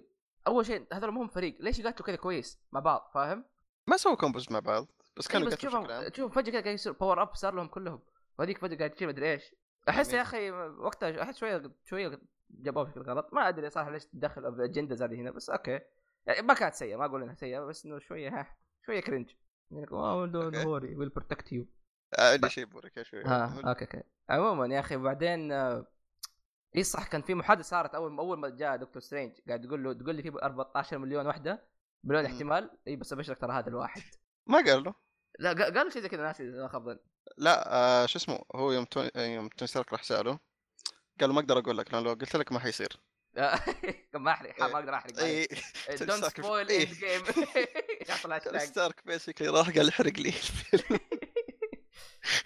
C: اول شيء هذول ما هم فريق ليش يقاتلوا كذا كويس مع بعض فاهم؟
B: ما سووا كومبوز مع بعض بس
C: إيه
B: كانوا
C: بس
B: يقتلوا بشكل
C: تشوفهم
B: عام
C: تشوفهم فجاه كذا قاعد يصير باور اب صار لهم كلهم وهذيك فجاه قاعد تصير مدري ايش احس يا
B: جميل.
C: اخي وقتها احس شويه شويه جابوها بشكل غلط ما ادري صراحه ليش تدخل الاجنده هذه هنا بس اوكي يعني ما كانت سيئه ما اقول انها سيئه بس انه شويه ها شويه كرنج يعني واو دون
B: أوكي.
C: هوري ويل بروتكت يو
B: آه، عندي شيء بورك شوي
C: ها اوكي اوكي عموما يا اخي بعدين آه، اي صح كان في محادثه صارت اول اول ما جاء دكتور سترينج قاعد يقول له تقول لي في 14 مليون وحده مليون
B: مم.
C: احتمال اي بس ابشرك ترى هذا الواحد
B: ما قال له
C: لا قا- قالوا شيء زي كذا ناسي إذا ما خاب ظني.
B: لا آه، شو اسمه هو يوم توني يوم توني ستارك راح ساله قال له ما اقدر اقول لك لان لو قلت لك ما حيصير
C: كم ما احرق
B: إيه،
C: حاب ما اقدر احرق
B: اي
C: دونت
B: تمساك في-
C: سبويل
B: إيه.
C: اند جيم يحط
B: توني
C: الهاشتاج
B: ستارك بيسكلي راح قال احرق لي الفيلم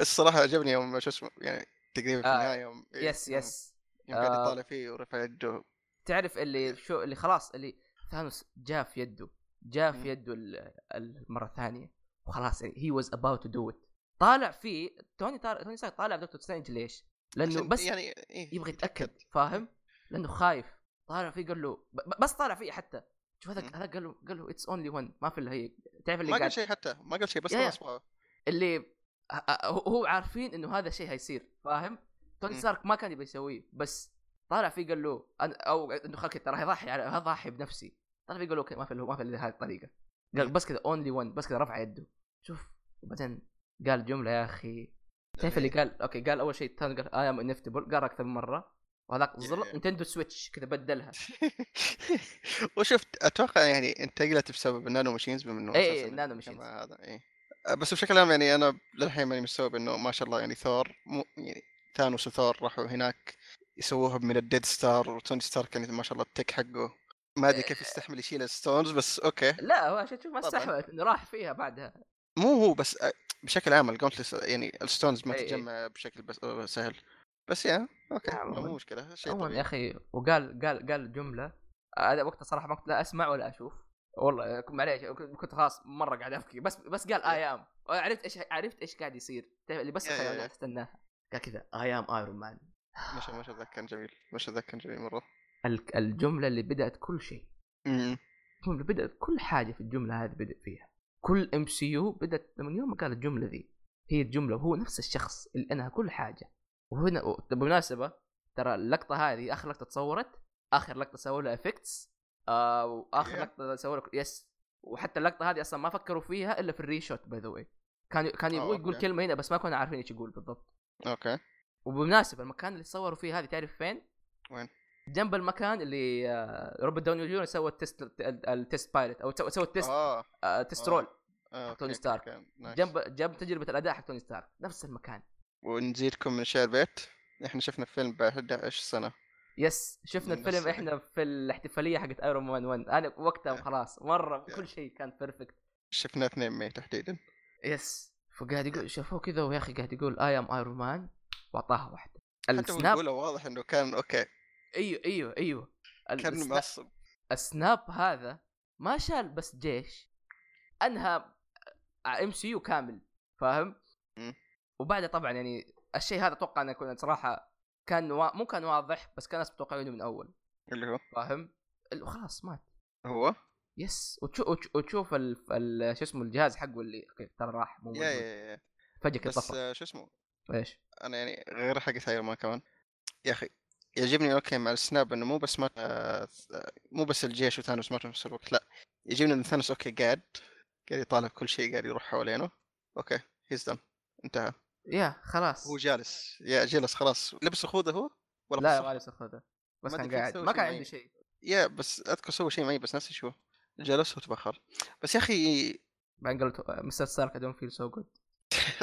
B: بس صراحه عجبني يوم شو اسمه يعني تقريبا في
C: آه،
B: النهايه يوم إيه،
C: يس
B: يوم-
C: يس
B: يوم قاعد
C: آه.
B: يطالع فيه ورفع يده
C: تعرف
B: إيه.
C: اللي شو اللي خلاص اللي ثانوس جاء في يده جاء
B: مم.
C: في يده ال- المره الثانيه وخلاص يعني هي واز اباوت تو دو ات طالع فيه توني طالع توني ستارك طالع دكتور سترينج ليش؟ لانه
B: عشان
C: بس
B: يعني إيه،
C: يبغى يتاكد فاهم؟ لانه خايف طالع فيه قال له ب- ب- بس طالع فيه حتى شوف هذا
B: مم.
C: هذا قال له قال له اتس اونلي ون ما في الا هي تعرف اللي
B: إيه. ما
C: قاعد
B: قال شيء حتى ما قال شيء بس
C: يا- يا.
B: خلاص بقى.
C: اللي ه- ه- هو عارفين انه هذا الشيء حيصير فاهم؟ توني
B: مم.
C: ستارك ما كان يبي يسويه بس طالع فيه قال له أنا او انه خلك ترى هضحي على هضحي بنفسي طالع فيه قال له اوكي ما في إلا- ما في إلا هذه الطريقه قال بس كذا اونلي ون بس كذا رفع يده شوف وبعدين قال جمله يا اخي تعرف
B: إيه.
C: اللي قال اوكي قال اول شيء تاني قال اي ام انفتبل قال اكثر من مره وهذاك زلط
B: Yeah.
C: نتندو سويتش كذا بدلها
B: وشفت اتوقع يعني انتقلت بسبب النانو ماشينز بما انه
C: إيه، إيه،
B: أساساً
C: نانو
B: كما
C: ماشينز.
B: هذا اي بس بشكل عام يعني انا للحين ماني مستوعب انه ما شاء الله يعني ثور مو يعني ثانوس وثور راحوا هناك يسووها من الديد ستار وتوني ستارك يعني ما شاء الله التك حقه ما ادري
C: آه.
B: كيف يستحمل يشيل الستونز بس اوكي
C: لا هو عشان تشوف ما
B: طبعاً.
C: استحوذ انه راح فيها بعدها
B: مو هو بس آه، بشكل عام الجونتلس يعني الستونز ما
C: إيه، إيه.
B: تتجمع بشكل بس آه، سهل بس يا اوكي
C: نعم،
B: مو
C: عموماً.
B: مشكله شيء
C: عموما يا
B: طبيعي
C: اخي وقال قال قال جمله هذا وقتها صراحه ما كنت لا اسمع ولا اشوف والله كنت- معليش كنت كنت خلاص مره قاعد ابكي بس بس قال اي ام عرفت ايش عرفت ايش قاعد يصير تعرف اللي بس
B: يا- يا-
C: خلاني
B: يا.
C: استناها قال كذا اي ام ايرون مان يعني
B: مش مش ذاك كان جميل مش ذاك كان جميل مره
C: الجمله اللي بدات كل شيء
B: امم
C: الجمله بدات كل حاجه في الجمله هذه بدات فيها كل ام سي يو بدات من يوم ما قال الجمله ذي هي الجمله وهو نفس الشخص اللي انها كل حاجه وهنا و- بالمناسبه ترى اللقطه هذه اخر لقطه تصورت اخر لقطه سووا لها افكتس آه واخر
B: Yeah.
C: لقطه سووا لها يس وحتى اللقطه هذه اصلا ما فكروا فيها الا في الريشوت باي ذا واي كان كان
B: آه،
C: يبغى يقول
B: أوكي.
C: كلمه هنا بس ما كنا عارفين ايش يقول بالضبط
B: اوكي
C: وبالمناسبه المكان اللي صوروا فيه هذه تعرف فين؟
B: وين؟
C: جنب المكان اللي آه، روبرت داوني جونيور سوى التست التست بايلوت او سوى سوى التست
B: اه
C: آه، تست
B: آه.
C: رول
B: آه،
C: توني
B: أوكي،
C: ستارك.
B: أوكي، نايس.
C: جنب جنب تجربه الاداء حق توني ستارك نفس المكان
B: ونزيدكم من شعر بيت احنا شفنا فيلم بعد 11 سنه
C: يس شفنا
B: نفس
C: الفيلم
B: الشيء.
C: احنا في الاحتفاليه حقت ايرون مان 1 انا وقتها
B: Yeah.
C: خلاص مره
B: Yeah.
C: كل شيء كان بيرفكت
B: شفنا 2 ماي تحديدا
C: يس فقاعد يقول شافوه كذا ويا اخي قاعد يقول اي ام ايرون مان واعطاها واحده
B: حتى
C: السناب
B: بنقوله واضح انه كان اوكي
C: ايوه ايوه ايوه
B: كان
C: السنا-
B: معصب
C: السناب هذا ما شال بس جيش انهى ام سي يو كامل فاهم؟
B: مم.
C: وبعدها طبعا يعني الشيء هذا اتوقع انه كنا صراحه كان وا... مو كان واضح بس كان الناس متوقعينه من اول
B: اللي هو
C: فاهم؟ ال- خلاص مات
B: هو
C: يس وتشوف وتشوف, وتشوف ال... ال... شو اسمه الجهاز حقه اللي أوكي، ترى راح مو
B: يا يا
C: موجود
B: يا
C: فجاه كده
B: بس
C: طفى
B: آه، شو اسمه
C: ايش؟
B: انا يعني غير حق ساير مان كمان يا اخي يعجبني اوكي مع السناب انه مو بس مات آه، آه، مو بس الجيش وثانوس ماتوا في نفس الوقت لا يعجبني انه ثانوس اوكي قاعد قاعد يطالع كل شيء قاعد يروح حوالينه اوكي هيز دن انتهى
C: يا خلاص
B: هو جالس يا جالس خلاص لبس خوذه هو ولا
C: لا
B: قص-
C: ما لبس اخذها بس
B: ما
C: كان
B: أدري كيف
C: قاعد
B: سوى
C: ما
B: شيء
C: كان
B: معين.
C: عنده شيء
B: يا بس اذكر سوى شيء معي بس ناسي شو جلس وتبخر بس يا اخي
C: بعدين قلت آه، مستر ستارك دون فيل سو جود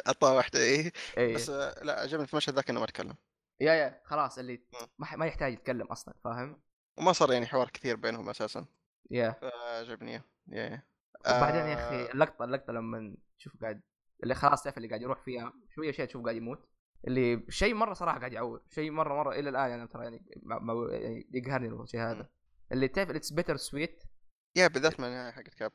B: اعطاه واحده ايه
C: اي
B: بس آه، لا عجبني في المشهد ذاك انه ما تكلم
C: يا يا خلاص اللي
B: مم.
C: ما, ح- ما يحتاج يتكلم اصلا فاهم؟
B: وما صار يعني حوار كثير بينهم اساسا
C: يا
B: فعجبني إياه. يا يا
C: وبعدين
B: آه،
C: يا اخي اللقطه اللقطه لما تشوف قاعد اللي خلاص تعرف اللي قاعد يروح فيها شويه شيء تشوف قاعد يموت اللي شيء مره صراحه قاعد يعور شيء مره مره الى الان انا ترى يعني, ما ما يعني يقهرني الشيء هذا اللي تعرف اتس بيتر سويت
B: يا بالذات من النهايه حقت كاب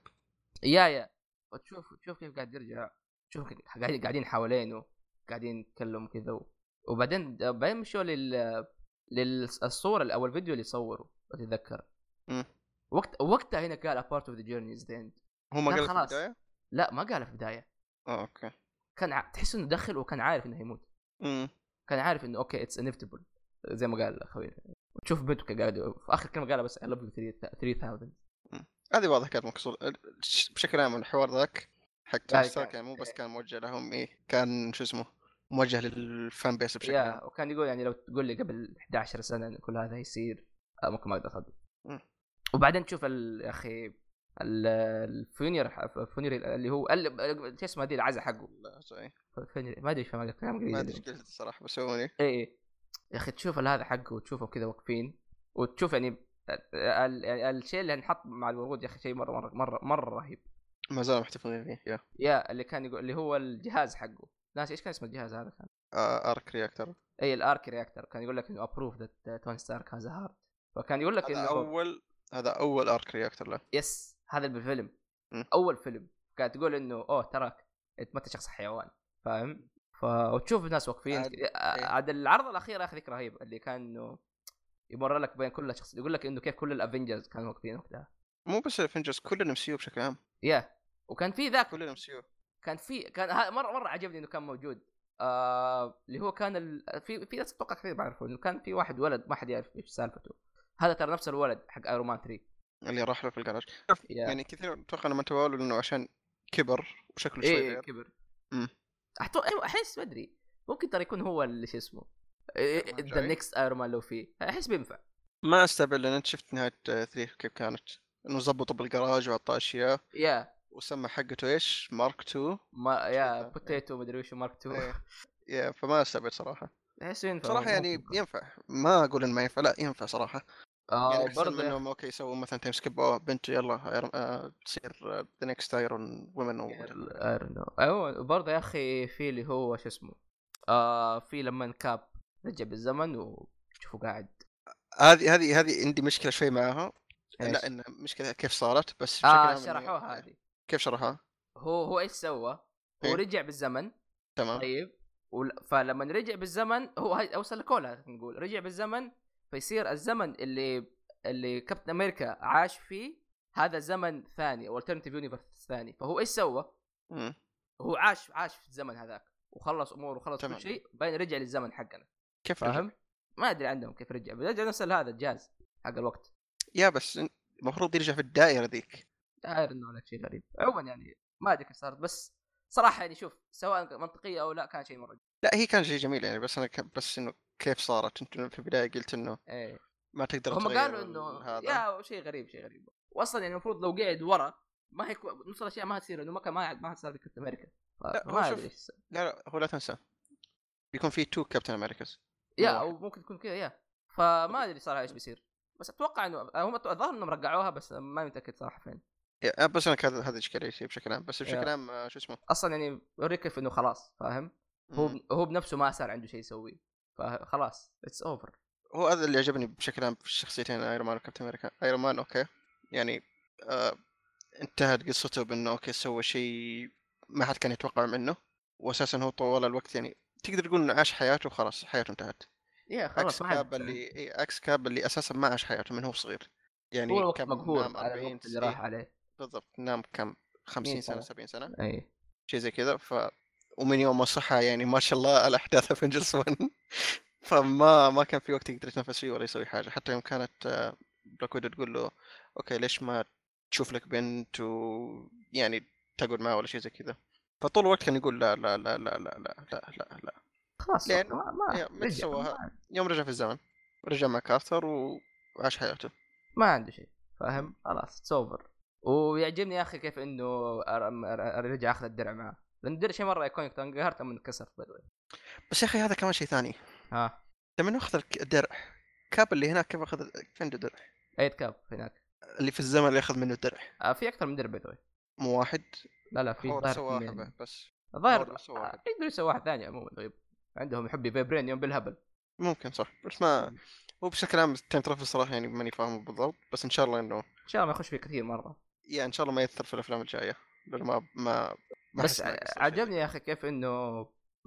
C: يا يا وتشوف تشوف كيف قاعد يرجع تشوف كيف- قاعدين قاعدين حوالينه قاعدين يتكلموا كذا و- وبعدين بعدين مشوا لل للصورة او الفيديو اللي صوره اتذكر
B: مم.
C: وقت وقتها هنا قال a part of the journey is the end
B: هو ما
C: لا،
B: قال في
C: خلاص.
B: البدايه؟
C: لا ما قالها في البداية
B: اه اوكي
C: كان ع... تحس انه دخل وكان عارف انه هيموت
B: امم
C: كان عارف انه اوكي اتس inevitable زي ما قال اخوي وتشوف بنته كان قاعد في اخر كلمه قالها بس I love you 3000
B: هذه واضح كانت مقصود بشكل عام الحوار ذاك حق
C: كان- إيه.
B: توني ستارك يعني مو بس كان موجه لهم ايه كان شو اسمه موجه للفان بيس بشكل عام
C: يا وكان يقول يعني لو تقول لي قبل 11 سنه إن كل هذا يصير آه، ممكن ما اقدر اصدق
B: مم.
C: وبعدين تشوف ال- يا اخي الفونير الفونير اللي هو ال- شو اسمه دي العزا حقه
B: لا، صحيح.
C: فونير ما ادري شو ما كلام
B: ما
C: انجليزي
B: ادري ايش قلت الصراحه بس هو إيه.
C: اي اي يا اخي تشوف ال- هذا حقه وتشوفهم كذا واقفين وتشوف يعني ال- ال- الشيء اللي انحط مع الورود يا اخي شيء مره مره مره مره رهيب
B: ما زالوا محتفظين فيه يا
C: يا اللي كان يقول اللي هو الجهاز حقه ناس ايش كان اسمه الجهاز هذا كان
B: آه، ارك رياكتر
C: اي الارك رياكتر كان يقول لك انه ابروف ذات توني ستارك هاز هارت فكان يقول لك
B: هذا
C: انه
B: اول هذا اول ارك رياكتر له
C: يس هذا اللي بالفيلم
B: مم.
C: اول فيلم كانت تقول انه اوه تراك انت ما انت شخص حيوان فاهم ف... وتشوف الناس واقفين
B: عاد- إيه.
C: آه، عاد العرض الاخير اخذك رهيب اللي كان انه يمر لك بين كل شخص يقول لك انه كيف كل الافنجرز كانوا واقفين وقتها
B: مو بس الافنجرز كل الام سي بشكل عام
C: يا وكان في ذاك
B: كل الام سي
C: كان في كان ها- مره مره عجبني انه كان موجود آه... اللي هو كان ال... في في ناس اتوقع كثير ما يعرفوا انه كان في واحد ولد ما حد يعرف ايش سالفته هذا ترى نفس الولد حق ايرون مان 3
B: اللي راح له في الجراج
C: يا.
B: يعني كثير اتوقع انه ما تباولوا لانه عشان كبر وشكله شوي
C: ايه
B: غير
C: كبر
B: مم.
C: أحتو... أيوة، احس ما ادري ممكن ترى يكون هو اللي شو اسمه إيه،
B: Iron Man
C: ذا
B: جاي.
C: نيكست ايرون مان لو فيه احس بينفع
B: ما استبعد لان انت شفت نهايه 3 كيف كانت انه زبطه بالجراج وعطاه اشياء
C: يا
B: وسمى حقته ايش؟ مارك 2
C: ما يا
B: شوفها.
C: بوتيتو مدري وش مارك تو
B: إيه. يا فما استبعد صراحه
C: احس ينفع
B: صراحه
C: ممكن.
B: يعني ينفع ما اقول انه ما ينفع لا ينفع صراحه يعني
C: اه
B: احسن
C: برضه
B: برضه
C: يا-
B: انهم اوكي يسووا مثلا تايم سكيب اوه بنته يلا آير- آه، تصير ذا نكست ايرون ومن
C: I don't know. أيوة، برضه يا اخي في اللي هو شو اسمه آه في لما كاب رجع بالزمن وشوفوا قاعد
B: هذه هذه هذه عندي مشكله شوي معاها
C: إيش؟
B: لا ان مشكله كيف صارت بس بشكل عام
C: اه
B: إنه-
C: شرحوها هذه
B: كيف شرحها؟
C: هو هو ايش سوى؟ هو
B: إيه.
C: رجع بالزمن
B: تمام
C: طيب ول- فلما رجع بالزمن هو هاي- اوصل لكولا نقول رجع بالزمن فيصير الزمن اللي اللي كابتن امريكا عاش فيه هذا زمن ثاني او الترنتيف يونيفرس ثاني فهو ايش سوى؟
B: مم.
C: هو عاش عاش في الزمن هذاك وخلص اموره وخلص
B: تمام.
C: كل شيء بعدين رجع للزمن حقنا
B: كيف رجع؟
C: فاهم؟ ما ادري عندهم كيف رجع رجع نفس هذا الجهاز حق الوقت
B: يا بس المفروض يرجع في الدائره ذيك
C: عارف انه هناك شيء غريب عموما يعني ما ادري كيف صارت بس صراحه يعني شوف سواء منطقيه او لا كان شيء مره
B: لا هي كان شيء جميل يعني بس انا كان بس انه كيف صارت انت في البدايه قلت انه
C: ايه
B: ما تقدر
C: هم
B: تغير
C: قالوا انه
B: هذا
C: يا شيء غريب شيء غريب واصلا يعني المفروض لو قعد ورا ما هيك نص الاشياء ما هتصير انه ما كان ما ما صار كابتن امريكا
B: لا، هو
C: ما
B: شوف.
C: ادري ايش صار.
B: لا لا هو لا تنسى بيكون في تو كابتن امريكاز
C: يا
B: واحد.
C: او ممكن تكون كذا يا فما ادري صراحه ايش بيصير بس اتوقع انه هم الظاهر انهم رجعوها بس ما متاكد صراحه فين
B: يا، بس انا كان هذا اشكاليتي بشكل عام بس بشكل
C: يا.
B: عام آه، شو اسمه
C: اصلا يعني يوريك كيف انه خلاص فاهم هو
B: مم.
C: هو بنفسه ما صار عنده شيء يسويه فخلاص اتس اوفر
B: هو هذا اللي عجبني بشكل عام في الشخصيتين ايرون مان وكابتن امريكا ايرون مان اوكي يعني آه انتهت قصته بانه اوكي سوى شيء ما حد كان يتوقع منه واساسا هو طوال الوقت يعني تقدر تقول انه عاش حياته وخلاص حياته انتهت
C: يا
B: عكس
C: خلاص ما
B: كاب
C: عاد- يعني
B: اللي إي، عكس كاب اللي اساسا ما عاش حياته من هو صغير يعني
C: هو الوقت
B: كم
C: مقهور
B: نام
C: على
B: 40
C: الوقت اللي
B: إي،
C: راح عليه إيه.
B: بالضبط نام كم 50 سنه
C: سنة.
B: 70 سنه
C: اي
B: شيء زي كذا ف ومن يوم ما صحى يعني ما شاء الله الاحداث افنجرز 1 فما ما كان في وقت يقدر يتنفس فيه ولا يسوي حاجه حتى يوم كانت آه، بلاك ويدو تقول له اوكي ليش ما تشوف لك بنت ويعني تقعد معه ولا شيء زي كذا فطول الوقت كان يقول لا لا لا لا لا لا لا لا, لا.
C: خلاص
B: لأن-
C: ما ما
B: يا، متى
C: رجع.
B: سواها؟
C: ما-
B: يوم رجع في الزمن رجع مع كارثر وعاش حياته
C: ما عنده شيء فاهم خلاص اتس اوفر ويعجبني يا اخي كيف انه أر- أر- رجع اخذ الدرع معاه لان الدرع شيء مره ايكونيك ترى انقهرت لما انكسر by the way.
B: بس يا اخي هذا كمان شيء ثاني
C: ها
B: لما إنه اخذ الك- الدرع كاب اللي هناك كيف اخذ فين الدرع؟
C: ايد كاب هناك
B: اللي في الزمن اللي اخذ منه الدرع
C: آه في اكثر من درع باي ذا
B: مو واحد
C: لا لا في
B: هو
C: ظاهر
B: سوى
C: اثنين.
B: واحد بس
C: الظاهر
B: هو سوى واحد.
C: آه، يقدر يسوي واحد ثاني عموما طيب عندهم يحب فيبرينيوم بالهبل
B: ممكن صح بس ما هو بشكل عام التايم ترافل صراحه يعني ماني فاهمه بالضبط بس ان شاء الله انه
C: ان شاء الله ما يخش فيه كثير مره
B: يا ان شاء الله ما ياثر في الافلام الجايه لانه ما ما ما أحس
C: بس
B: إنه يأثر في شيء.
C: عجبني يا اخي كيف انه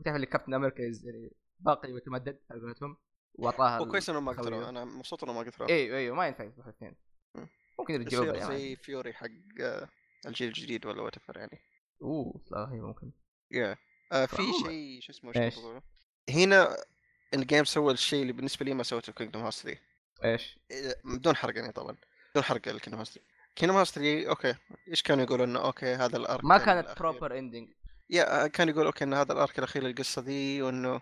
C: تعرف اللي كابتن امريكا يز- يعني باقي متمدد على قولتهم واعطاها
B: هو كويس انه ما قتلوه
C: خويه.
B: انا مبسوط انه ما قتلوه
C: ايوه ايوه ما ينفع يذبحوا اثنين
B: مم.
C: ممكن يرجعوه
B: يصير
C: بعدين
B: زي فيوري حق آه، الجيل الجديد ولا وات يعني
C: اوه لا هي ممكن
B: يا آه، في
C: فهو-
B: شيء شو اسمه شو
C: إيش؟
B: بقوله؟ هنا الجيم سوى الشيء اللي بالنسبه لي ما سوته في كينجدوم هاوس 3
C: ايش؟
B: إيه، بدون حرق يعني طبعا بدون حرق الكينجدوم هاوس 3 كينجدوم هاوس 3 اوكي ايش كانوا يقولوا انه اوكي هذا الارك
C: ما
B: يعني
C: كانت
B: الأخير.
C: بروبر اندنج
B: يا كان يقول اوكي ان هذا الارك الاخير للقصه دي وانه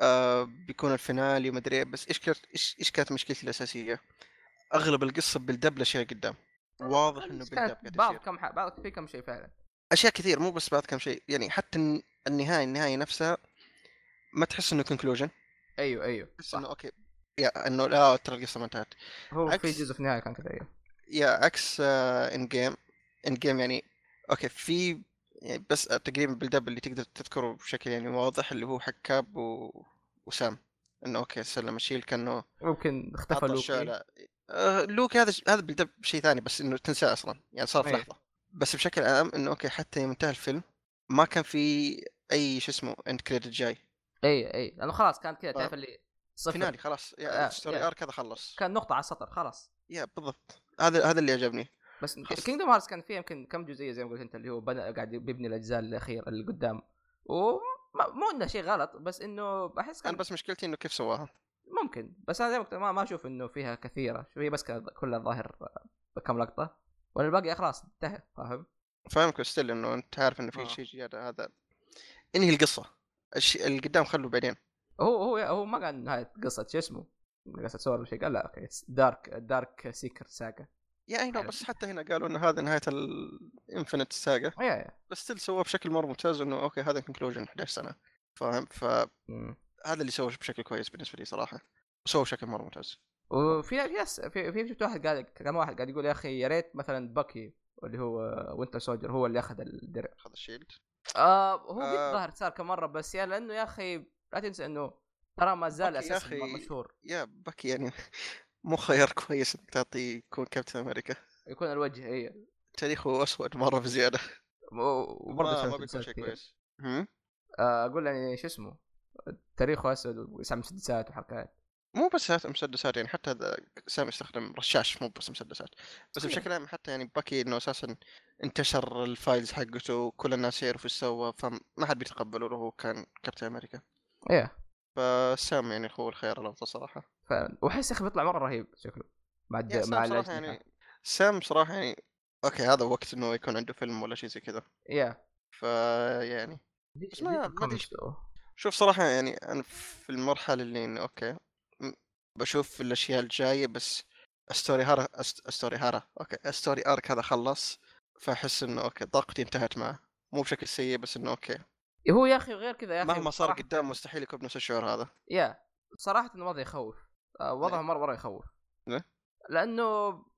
B: آه بيكون الفينالي وما ادري إيه، بس ايش كانت ايش ايش كانت مشكلتي الاساسيه؟ اغلب القصه بالدبلش هي قدام واضح انه بالدب قاعد
C: بعض
B: يصير
C: كم ح... بعض في كم شيء فعلا
B: اشياء كثير مو بس بعد كم شيء يعني حتى الن- النهايه النهايه نفسها ما تحس انه كونكلوجن
C: ايوه ايوه
B: تحس
C: صح.
B: انه اوكي يا انه لا ترى القصه ما انتهت
C: هو في
B: عكس-
C: جزء في النهايه كان كذا ايوه
B: يا آه، عكس ان جيم ان جيم يعني اوكي في يعني بس تقريبا بالدب اللي تقدر تذكره بشكل يعني واضح اللي هو حق كاب و... وسام انه اوكي سلم الشيل كانه
C: ممكن اختفى
B: عطى
C: لوكي
B: الشعلة آه لوكي هذا هذا بالدب شيء ثاني بس انه تنساه اصلا يعني صار في
C: أيه.
B: لحظه بس بشكل عام انه اوكي حتى يوم انتهى الفيلم ما كان في اي شو اسمه اند كريدت جاي
C: اي اي لانه أيوه، خلاص كان كذا
B: آه.
C: تعرف اللي صفر
B: فينالي خلاص
C: آه،
B: يا الستوري
C: يا.
B: ارك هذا خلص
C: كان نقطه على السطر خلاص
B: يا بالضبط هذا هذا اللي عجبني
C: بس
B: خلاص.
C: كينجدوم هارتس كان فيه يمكن كم جزئيه زي ما قلت انت اللي هو بنى قاعد بيبني الاجزاء الاخير اللي قدام ومو انه شيء غلط بس انه احس كان
B: انا بس مشكلتي انه كيف سواها
C: ممكن بس انا زي ما قلت ما ما اشوف انه فيها كثيره شوف هي بس كان- كلها الظاهر آه، كم لقطه والباقي خلاص انتهى فاهم؟
B: فاهمك بس still انه انت عارف انه
C: آه.
B: في شيء زياده هذا انهي القصه الشيء اللي قدام خلوه بعدين
C: هو هو هو ما قال نهايه قصه شو اسمه قصه سور ولا شيء قال لا اوكي دارك دارك سيكر ساجا
B: يا اي نو
C: حلو.
B: بس حتى هنا قالوا انه هذا نهايه الانفنت ساجا
C: يا يا
B: بس ستيل سووه بشكل مره ممتاز انه اوكي هذا كونكلوجن 11 سنه فاهم فهذا
C: مم.
B: اللي سووه بشكل كويس بالنسبه لي صراحه سووه بشكل مره ممتاز
C: وفي يس في في شفت واحد قاعد كان واحد قاعد يقول يا اخي يا ريت مثلا باكي اللي هو وينتر سولجر هو اللي اخذ الدرع
B: هذا الشيلد
C: آه هو قد
B: آه.
C: ظهر صار كم مره بس يعني يا لانه يا اخي لا تنسى انه ترى ما زال
B: باكي يا
C: اساسا
B: أخي.
C: مشهور
B: يا بكي يعني مو خيار كويس انك تعطيه يكون كابتن امريكا
C: يكون الوجه اي
B: تاريخه اسود مره بزياده ما,
C: وبرضه
B: ما بيكون شيء كويس هم؟
C: آه، اقول يعني شو اسمه تاريخه اسود ويسمى مسدسات وحركات
B: مو بس هات- مسدسات يعني حتى هذا سام يستخدم رشاش مو بس مسدسات بس
C: أيوة.
B: بشكل عام حتى يعني باكي انه اساسا انتشر الفايلز حقته كل الناس يعرفوا ايش سوى فما حد بيتقبله لو هو كان كابتن امريكا
C: ايه
B: فسام يعني هو الخيار الافضل صراحه
C: ف... واحس يا اخي بيطلع مره رهيب شكله مع الد...
B: يعني
C: مع
B: سام صراحه
C: الأجنحة.
B: يعني سام صراحه يعني اوكي هذا وقت انه يكون عنده فيلم ولا شيء زي كذا يعني
C: يا
B: فيعني
C: ليش-
B: ما-
C: ليش
B: ما أدري
C: الكوميكس
B: إيش-
C: ذو؟
B: شوف صراحة يعني أنا في المرحلة اللي إني أوكي م- بشوف الأشياء الجاية بس ستوري هارا أست- ستوري هارا أوكي ستوري آرك هذا خلص فأحس إنه أوكي طاقتي انتهت معه مو بشكل سيء بس إنه أوكي
C: هو يا اخي غير كذا يا اخي
B: مهما صار
C: صراحة-
B: قدام مستحيل يكون بنفس الشعور هذا
C: يا صراحه انه وضع يخوف آه، وضعه
B: إيه.
C: مره مره يخوف
B: ليه؟
C: لانه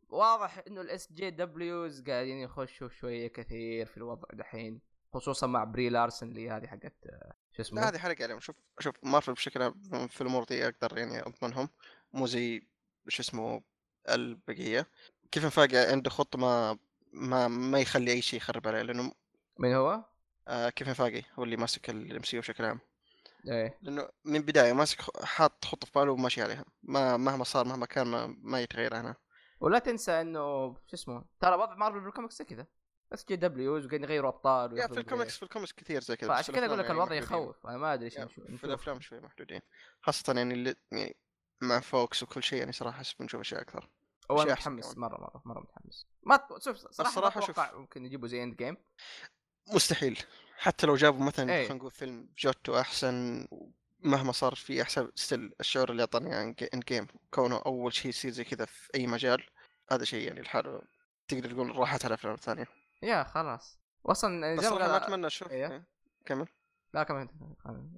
C: واضح انه الاس جي دبليوز قاعدين يخشوا شويه كثير في الوضع دحين خصوصا مع بري لارسن اللي هذه حقت آه، شو
B: لا
C: اسمه
B: هذه حرق عليهم شوف شوف مارفل بشكل عام في الأمور دي أقدر يعني أضمنهم مو زي شو اسمه البقية كيفن فاجأ عنده خط ما ما ما يخلي أي شيء يخرب عليه لأنه
C: من هو؟
B: آه كيفن فاجي هو اللي ماسك الام سي بشكل عام
C: ايه
B: لانه من البدايه ماسك خ- حاط خطه في باله وماشي عليها ما مهما صار مهما كان ما, ما يتغير عنها
C: ولا تنسى انه شو اسمه ترى وضع مارفل بالكوميكس كذا اس جي دبليوز وقاعدين يغيروا ابطال
B: يعني
C: وياخذوا
B: في الكوميكس في الكوميكس كثير زي كذا بس
C: فعشان
B: في
C: كذا اقول لك
B: الأفلام
C: الوضع
B: يعني محدودين.
C: يخوف انا ما ادري ايش
B: يعني
C: نشوف-
B: في
C: نشوف.
B: الافلام شوي محدودين خاصه يعني, اللي يعني مع فوكس وكل شيء يعني صراحه احس بنشوف اشياء اكثر
C: هو
B: شيء
C: انا
B: أحسن
C: متحمس
B: كمان.
C: مره مره مره متحمس ما ت- شوف صراحه
B: الصراحة
C: الصراحه ما اتوقع
B: شوف.
C: ممكن يجيبوا زي اند جيم
B: مستحيل حتى لو جابوا مثلا
C: إيه.
B: خلينا نقول فيلم جوتو احسن مهما صار في احسن ستيل الشعور اللي اعطاني عن جي- ان جيم كونه اول شيء يصير زي كذا في اي مجال هذا شيء يعني لحاله تقدر تقول راحت على افلام ثانيه
C: يا خلاص اصلا يعني
D: بس
C: زي ما
D: انا ما
C: قال-
D: اتمنى اشوف
C: إيه.
D: إيه.
C: لا كمل أنت.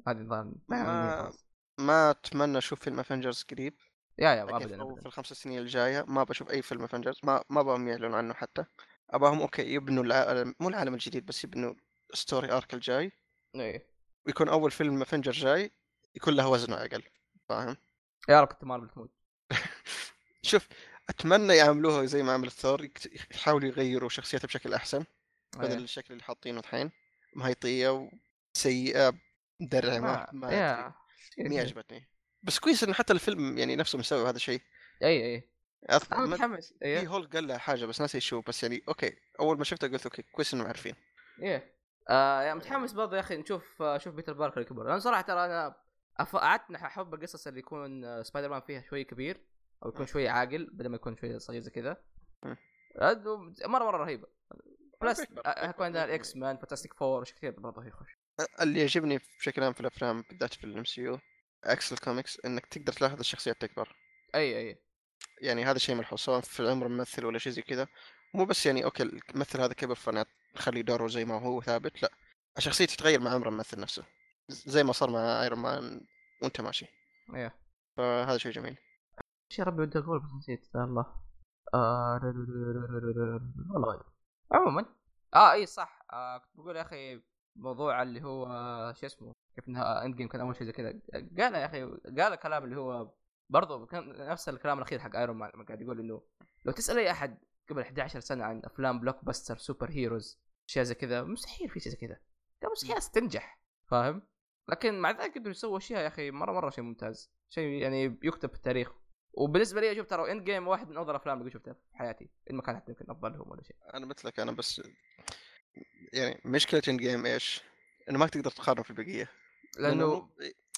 C: هذه الظاهر
B: ما- ما اتمنى اشوف فيلم افنجرز قريب
C: يا يا
B: لكن
C: ابدا
B: لو
C: أبداً.
B: في الخمس سنين الجايه ما بشوف اي فيلم افنجرز ما ما ابغاهم يعلنوا عنه حتى ابغاهم اوكي يبنوا العالم مو العالم الجديد بس يبنوا ستوري ارك الجاي
C: إيه.
B: ويكون اول فيلم افنجر جاي يكون له وزنه اقل فاهم
C: يا رب كنت مارفل تموت
B: شوف اتمنى يعاملوها زي ما عمل ثور يكت- يحاولوا يغيروا شخصيته بشكل احسن بدل
C: إيه.
B: الشكل اللي حاطينه الحين مهيطيه وسيئه مدرعه
C: آه،
B: ما ما أدري.
C: يا إيه.
B: ما عجبتني بس كويس انه حتى الفيلم يعني نفسه مسوي هذا الشيء
C: اي اي
B: أذكر
C: انا
B: ما-
C: إيه، متحمس إيه.
B: في
C: اي
B: هولك قال لها حاجه بس ناسي شو بس يعني اوكي اول ما شفته قلت اوكي كويس انهم عارفين
C: اي آه يا متحمس برضه يا اخي نشوف آه، شوف بيتر باركر يكبر لان صراحه ترى انا أف- قعدت نح- احب القصص اللي يكون آه، سبايدر مان فيها شوي كبير او يكون شوي عاقل بدل ما يكون شوي صغير زي كذا
B: مم.
C: عاد و- مره مره رهيبه بلس
B: بيكبر-
C: آه،
B: بيكبر
C: يكون عندنا
B: بإذن
C: الاكس مان فانتستيك فور وش كثير برضه يخش
B: اللي يعجبني بشكل عام في الافلام بالذات في الام سي يو عكس الكوميكس انك تقدر تلاحظ الشخصيات تكبر
C: اي اي
B: يعني هذا شيء ملحوظ سواء في عمر ممثل ولا شيء زي كذا مو بس يعني اوكي الممثل هذا كبر فنخلي دوره زي ما هو ثابت لا الشخصيه تتغير مع عمر الممثل نفسه ز- زي ما صار مع ايرون مان وانت ماشي
C: اي
B: فهذا شيء جميل
C: ايش يا ربي ودي اقول بس نسيت يا الله آه، والله غير عموما اه اي صح آه كنت بقول يا اخي موضوع اللي هو آه، شو اسمه كيف انها اند جيم كان اول شيء زي كذا قال يا اخي قال كلام اللي هو برضه كان نفس الكلام الاخير حق ايرون مان لما قاعد يقول انه لو تسال اي احد قبل 11 سنه عن افلام بلوك باستر سوبر هيروز اشياء زي كذا مستحيل في شيء زي كذا قال مستحيل تنجح فاهم لكن مع ذلك قدروا يسووا اشياء يا اخي مره مره شيء ممتاز شيء يعني يكتب في التاريخ وبالنسبه لي اشوف ترى اند جيم واحد من افضل الافلام اللي شفتها في حياتي ان ما كان حتى يمكن افضلهم ولا شيء
B: انا مثلك انا بس يعني مشكله ان جيم ايش؟ انه ما تقدر تقارنه في البقيه
C: لانه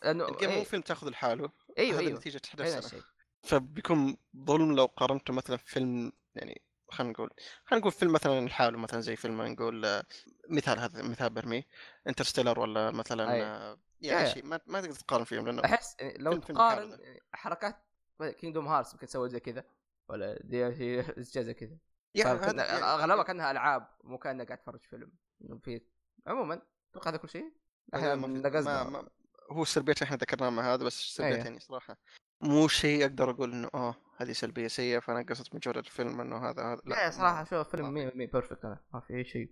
C: لانه
B: الجيم مو
C: إيه،
B: فيلم تاخذ لحاله
C: ايوه
B: هذا
C: ايوه
B: نتيجة
C: هذا
B: حدث سنة
C: الشيء
B: فبيكون ظلم لو قارنته مثلا في فيلم يعني خلينا نقول خلينا نقول فيلم مثلا لحاله مثلا زي فيلم نقول آه، مثال هذا مثال برمي انترستيلر ولا مثلا
C: أي.
B: آه، يعني
C: أي.
B: شيء ما, ما تقدر تقارن فيهم لانه
C: احس يعني أيوة. لو
B: فيلم- فيلم
C: تقارن
B: حالة.
C: يعني حركات كينجدوم هارتس ممكن تسوي زي كذا ولا دي شيء اشياء زي كذا
B: يعني
C: فاهم؟
B: هذا- يعني-
C: اغلبها كانها العاب مو كانها قاعد تفرج فيلم إنه في عموما اتوقع هذا كل شيء احنا
B: ما في-
C: نقزنا
B: ما- ما- هو السلبيات اللي احنا ذكرناها مع هذا بس
C: أيوه.
B: سلبيات يعني صراحه مو شيء اقدر اقول انه اه هذه سلبيه سيئه فنقصت من جوده الفيلم انه هذا هذا
C: لا صراحه شوف
B: ما
C: إيه، فيلم 100% بيرفكت انا ما في اي شيء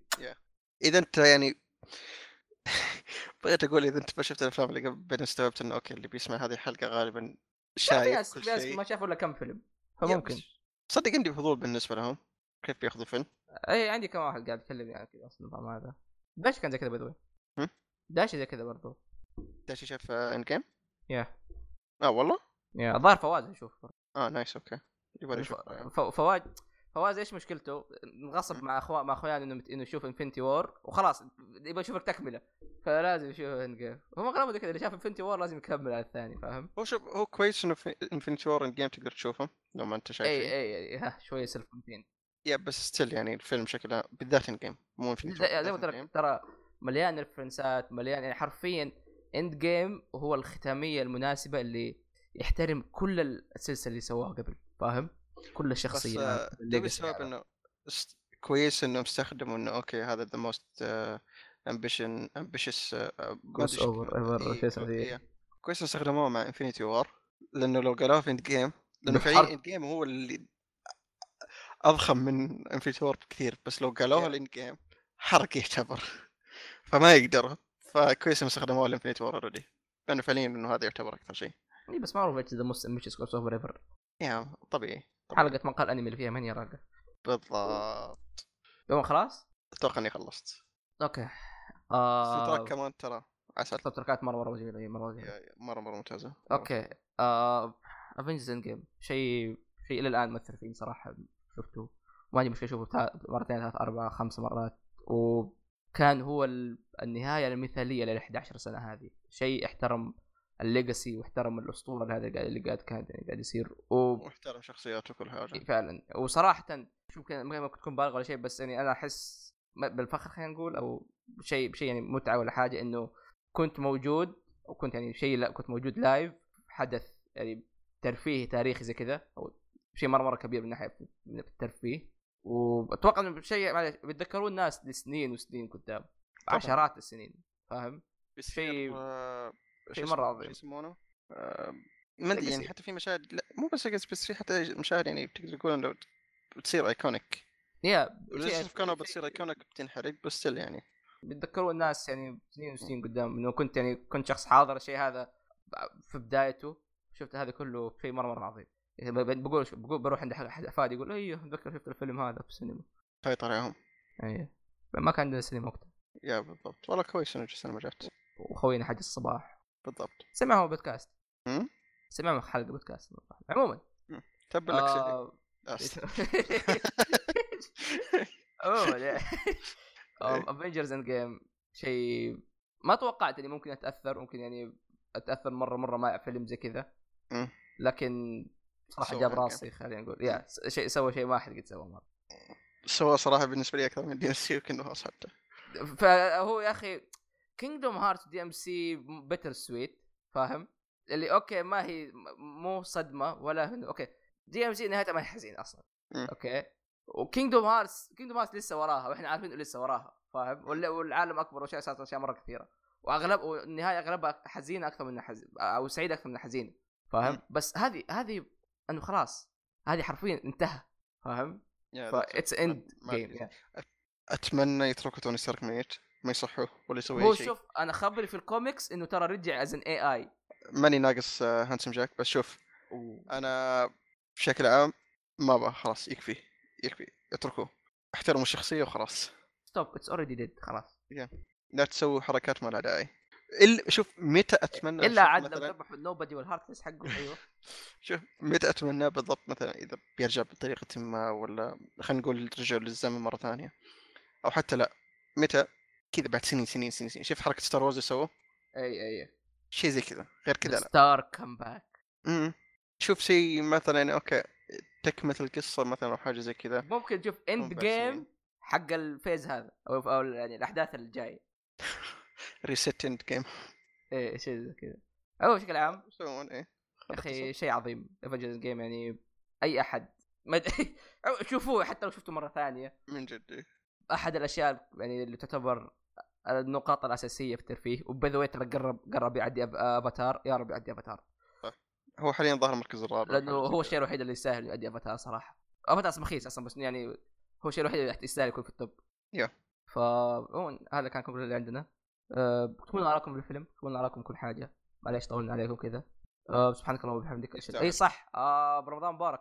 B: اذا انت يعني بغيت اقول اذا انت ما شفت الافلام اللي قبل بعدين استوعبت انه اوكي اللي بيسمع هذه الحلقه غالبا
C: في
B: شايف
C: ناس
B: كل
C: في ناس
B: شيء
C: ما شافوا الا كم فيلم
B: يا
C: فممكن
B: بس صدق عندي فضول بالنسبه لهم كيف بياخذوا فيلم
C: اي إيه، عندي كم واحد قاعد يكلمني عن كذا اصلا النظام هذا داش كان زي كذا باي
B: هم؟
C: داش زي كذا برضو
B: داشي شاف ان جيم
C: يا
B: اه والله
C: يا الظاهر فواز نشوف
B: اه نايس اوكي يبغى يشوف
C: فواز فواز ايش مشكلته؟ انغصب مع اخوان مع اخوان انه مت- انه يشوف انفنتي وور وخلاص يبغى يشوف التكمله فلازم يشوف هند جيم هم اغلبهم زي كذا اللي شاف انفنتي وور لازم يكمل على الثاني فاهم؟
B: هو شوف هو كويس انه في انفنتي وور ان جيم تقدر تشوفهم لو ما انت شايف
C: اي
B: شيء.
C: اي, أي إيه، ها شويه سيلف كونتين
B: يا بس ستيل يعني الفيلم بشكل عام بالذات ان جيم مو انفنتي
C: زي زي ما قلت
B: إيه؟
C: لك ترى مليان ريفرنسات مليان يعني حرفيا اند جيم هو الختاميه المناسبه اللي يحترم كل السلسله اللي سواها قبل فاهم؟ كل يعني،
B: بس
C: الشخصيات
B: آه، ده بسبب انه است- كويس انهم استخدموا انه اوكي هذا آه، ذا موست امبيشن امبيشس
C: Cross over ever
B: إيه،
C: في اسمه إيه. ذي.
B: كويس انهم استخدموه مع انفنتي وار لانه لو قالوها في اند جيم لانه
C: إنه
B: فعليا
C: حرب.
B: اند جيم هو اللي اضخم من انفنتي وار بكثير بس لو قالوها
C: Yeah.
B: الاند جيم حرق يعتبر فما يقدروا فكويس انهم استخدموها الانفنتي وار اوريدي لانه فعليا انه هذا يعتبر اكثر شيء
C: اي إيه، بس معروف ايش ذا موست امبيشس كروس اوفر ايفر
B: يا طبيعي طبيعي.
C: حلقه مقال انمي اللي فيها من يراقب
B: بالضبط
C: يوم خلاص؟
B: اتوقع اني خلصت
C: اوكي
B: آه.
C: آه
B: كمان ترى عسل
C: تركات مره مره جميله إي، مره جميله
B: يا- يا- مره مره ممتازه
C: اوكي آه افنجرز اند جيم شيء شيء الى الان مؤثر فيني صراحه شفته ما عندي مشكله اشوفه تا- مرتين ثلاث اربع خمس مرات وكان هو ال... النهايه المثاليه لل 11 سنه هذه شيء احترم الليجاسي واحترم الاسطوره اللي هذا اللي قاعد- اللي قاعد كان يعني قاعد يصير و...
B: واحترم شخصياته وكل حاجه
C: فعلا وصراحه شوف كان- ما ممكن تكون بالغ ولا شيء بس يعني انا احس ما- بالفخر خلينا نقول او شيء شيء يعني متعه ولا حاجه انه كنت موجود وكنت يعني شيء لا كنت موجود لايف حدث يعني ترفيهي تاريخي زي كذا او شيء مره مره كبير من ناحيه من الترفيه و واتوقع انه شيء معلش بيتذكروه الناس لسنين وسنين قدام عشرات السنين فاهم؟
B: بيصير،
C: شيء-
B: آه،
C: شيء
B: شو
C: مرة
B: اسمه-
C: عظيم.
B: شو يسمونه؟ آه، ما ادري يعني
C: Legacy.
B: حتى في مشاهد لا مو بس legacy، بس في حتى مشاهد يعني تقدر تقول لو بتصير ايكونيك
C: يا
B: للاسف كانوا بتصير ايكونيك بتنحرق بس still يعني
C: بيتذكروه الناس يعني سنين وسنين قدام انه كنت يعني كنت شخص حاضر الشيء هذا في بدايته شفت هذا كله شيء مره مره عظيم يعني ب- ب- بقول بقول بروح عند أحد- أحد فادي يقول ايوه اتذكر شفت الفيلم هذا في السينما
B: سيطر عليهم
C: ايوه ما كان عندنا سينما وقتها
B: يا بالضبط والله كويس انه السنه ما جات
C: وخوينا حاج الصباح
B: بالضبط
C: سمعهم بودكاست
B: مم؟
C: سمعهم حلقه بودكاست عموما
B: تبا لك سيدي.
C: آه،
B: آسف.
C: عموما افنجرز اند جيم Um, شيء ما توقعت اني ممكن اتاثر ممكن يعني اتاثر مره مره مع فيلم زي كذا
B: مم.
C: لكن صراحه
B: سوى
C: جاب
B: يعني.
C: راسي خلينا نقول يا س- شيء سوى شيء ما احد قد سواه مره
B: سوى صراحه بالنسبه لي اكثر من دي اس سي وكنه خلاص حتى
C: فهو يا اخي كينجدوم هارت دي ام سي بيتر سويت فاهم اللي اوكي ما هي م- مو صدمه ولا هن- اوكي دي ام سي نهايتها ما هي حزين اصلا
B: مم.
C: اوكي وكينجدوم هارتس كينجدوم هارتس لسه وراها واحنا عارفين إنه لسه وراها فاهم وال- والعالم اكبر واشياء صارت اشياء مره كثيره واغلب والنهايه اغلبها حزينه اكثر من حز... او سعيده اكثر من حزينه فاهم
B: مم.
C: بس هذه هذه انه خلاص هذه حرفيا انتهى فاهم؟
B: يا ذا.
C: فاتس اند
B: ما- ما-
C: جيم
B: اتمنى يتركوا توني ستارك ميت ما يصحوه ولا يسوي
C: هو
B: أي شيء
C: شوف انا خبري في الكوميكس انه ترى رجع از ان اي اي
B: ماني ناقص آه، هانسم جاك بس شوف انا بشكل عام ما ابغى خلاص يكفي يكفي اتركوه احترموا الشخصيه وخلاص
C: ستوب اتس اوريدي ديد خلاص
B: لا تسووا حركات ما لها داعي الا شوف متى اتمنى
C: الا
B: شوف
C: عاد لو
B: مثلا
C: ذبحوا النوبدي والهارت فيس حقه ايوه
B: شوف متى اتمنى بالضبط مثلا اذا بيرجع بطريقه ما ولا خلينا نقول رجعوا للزمن مره ثانيه او حتى لا متى كذا بعد سنين سنين سنين سنين شوف حركه ستار وورز سووا
C: اي اي
B: شيء زي كذا غير كذا لا
C: ستار كم باك
B: امم شوف يعني شيء مثلا اوكي تكمله القصه مثلا او حاجه زي كذا
C: ممكن تشوف اند
B: Comeback
C: جيم
B: scene.
C: حق الفيز هذا او, أو يعني الاحداث اللي جايه
B: ريست اند جيم
C: ايه شيء زي كذا هو بشكل عام
B: يسوون ايه
C: يا اخي شيء عظيم افنجرز جيم يعني اي احد ما أدري- شوفوه حتى لو شفته مره ثانيه
B: من جد
C: احد الاشياء يعني اللي تعتبر النقاط الاساسيه في الترفيه وباي ذا ترى قرب قرب يعدي أب- افاتار يا رب يعدي افاتار
B: هو حاليا ظهر المركز الرابع
C: لانه هو الشيء الوحيد اللي يستاهل يعدي افاتار صراحه افاتار اسم رخيص اصلا بس يعني هو الشيء الوحيد اللي يستاهل يكون في التوب
B: يا.
C: ف عموماً هذا كان كل اللي عندنا أه تكون اراءكم بالفيلم تكون اراءكم كل حاجه معليش طولنا عليكم كذا أه سبحانك اللهم وبحمدك أشهد-
B: يستاهل.
C: اي صح أه برمضان مبارك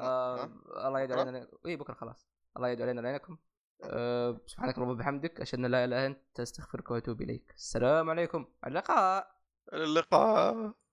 C: آه،
B: آه.
C: الله يدعو
B: بكرة؟
C: علينا اي بكره خلاص الله يدعو علينا عليكم آه، سبحانك اللهم وبحمدك اشهد ان لا اله الا انت استغفرك واتوب اليك السلام عليكم على اللقاء
B: اللقاء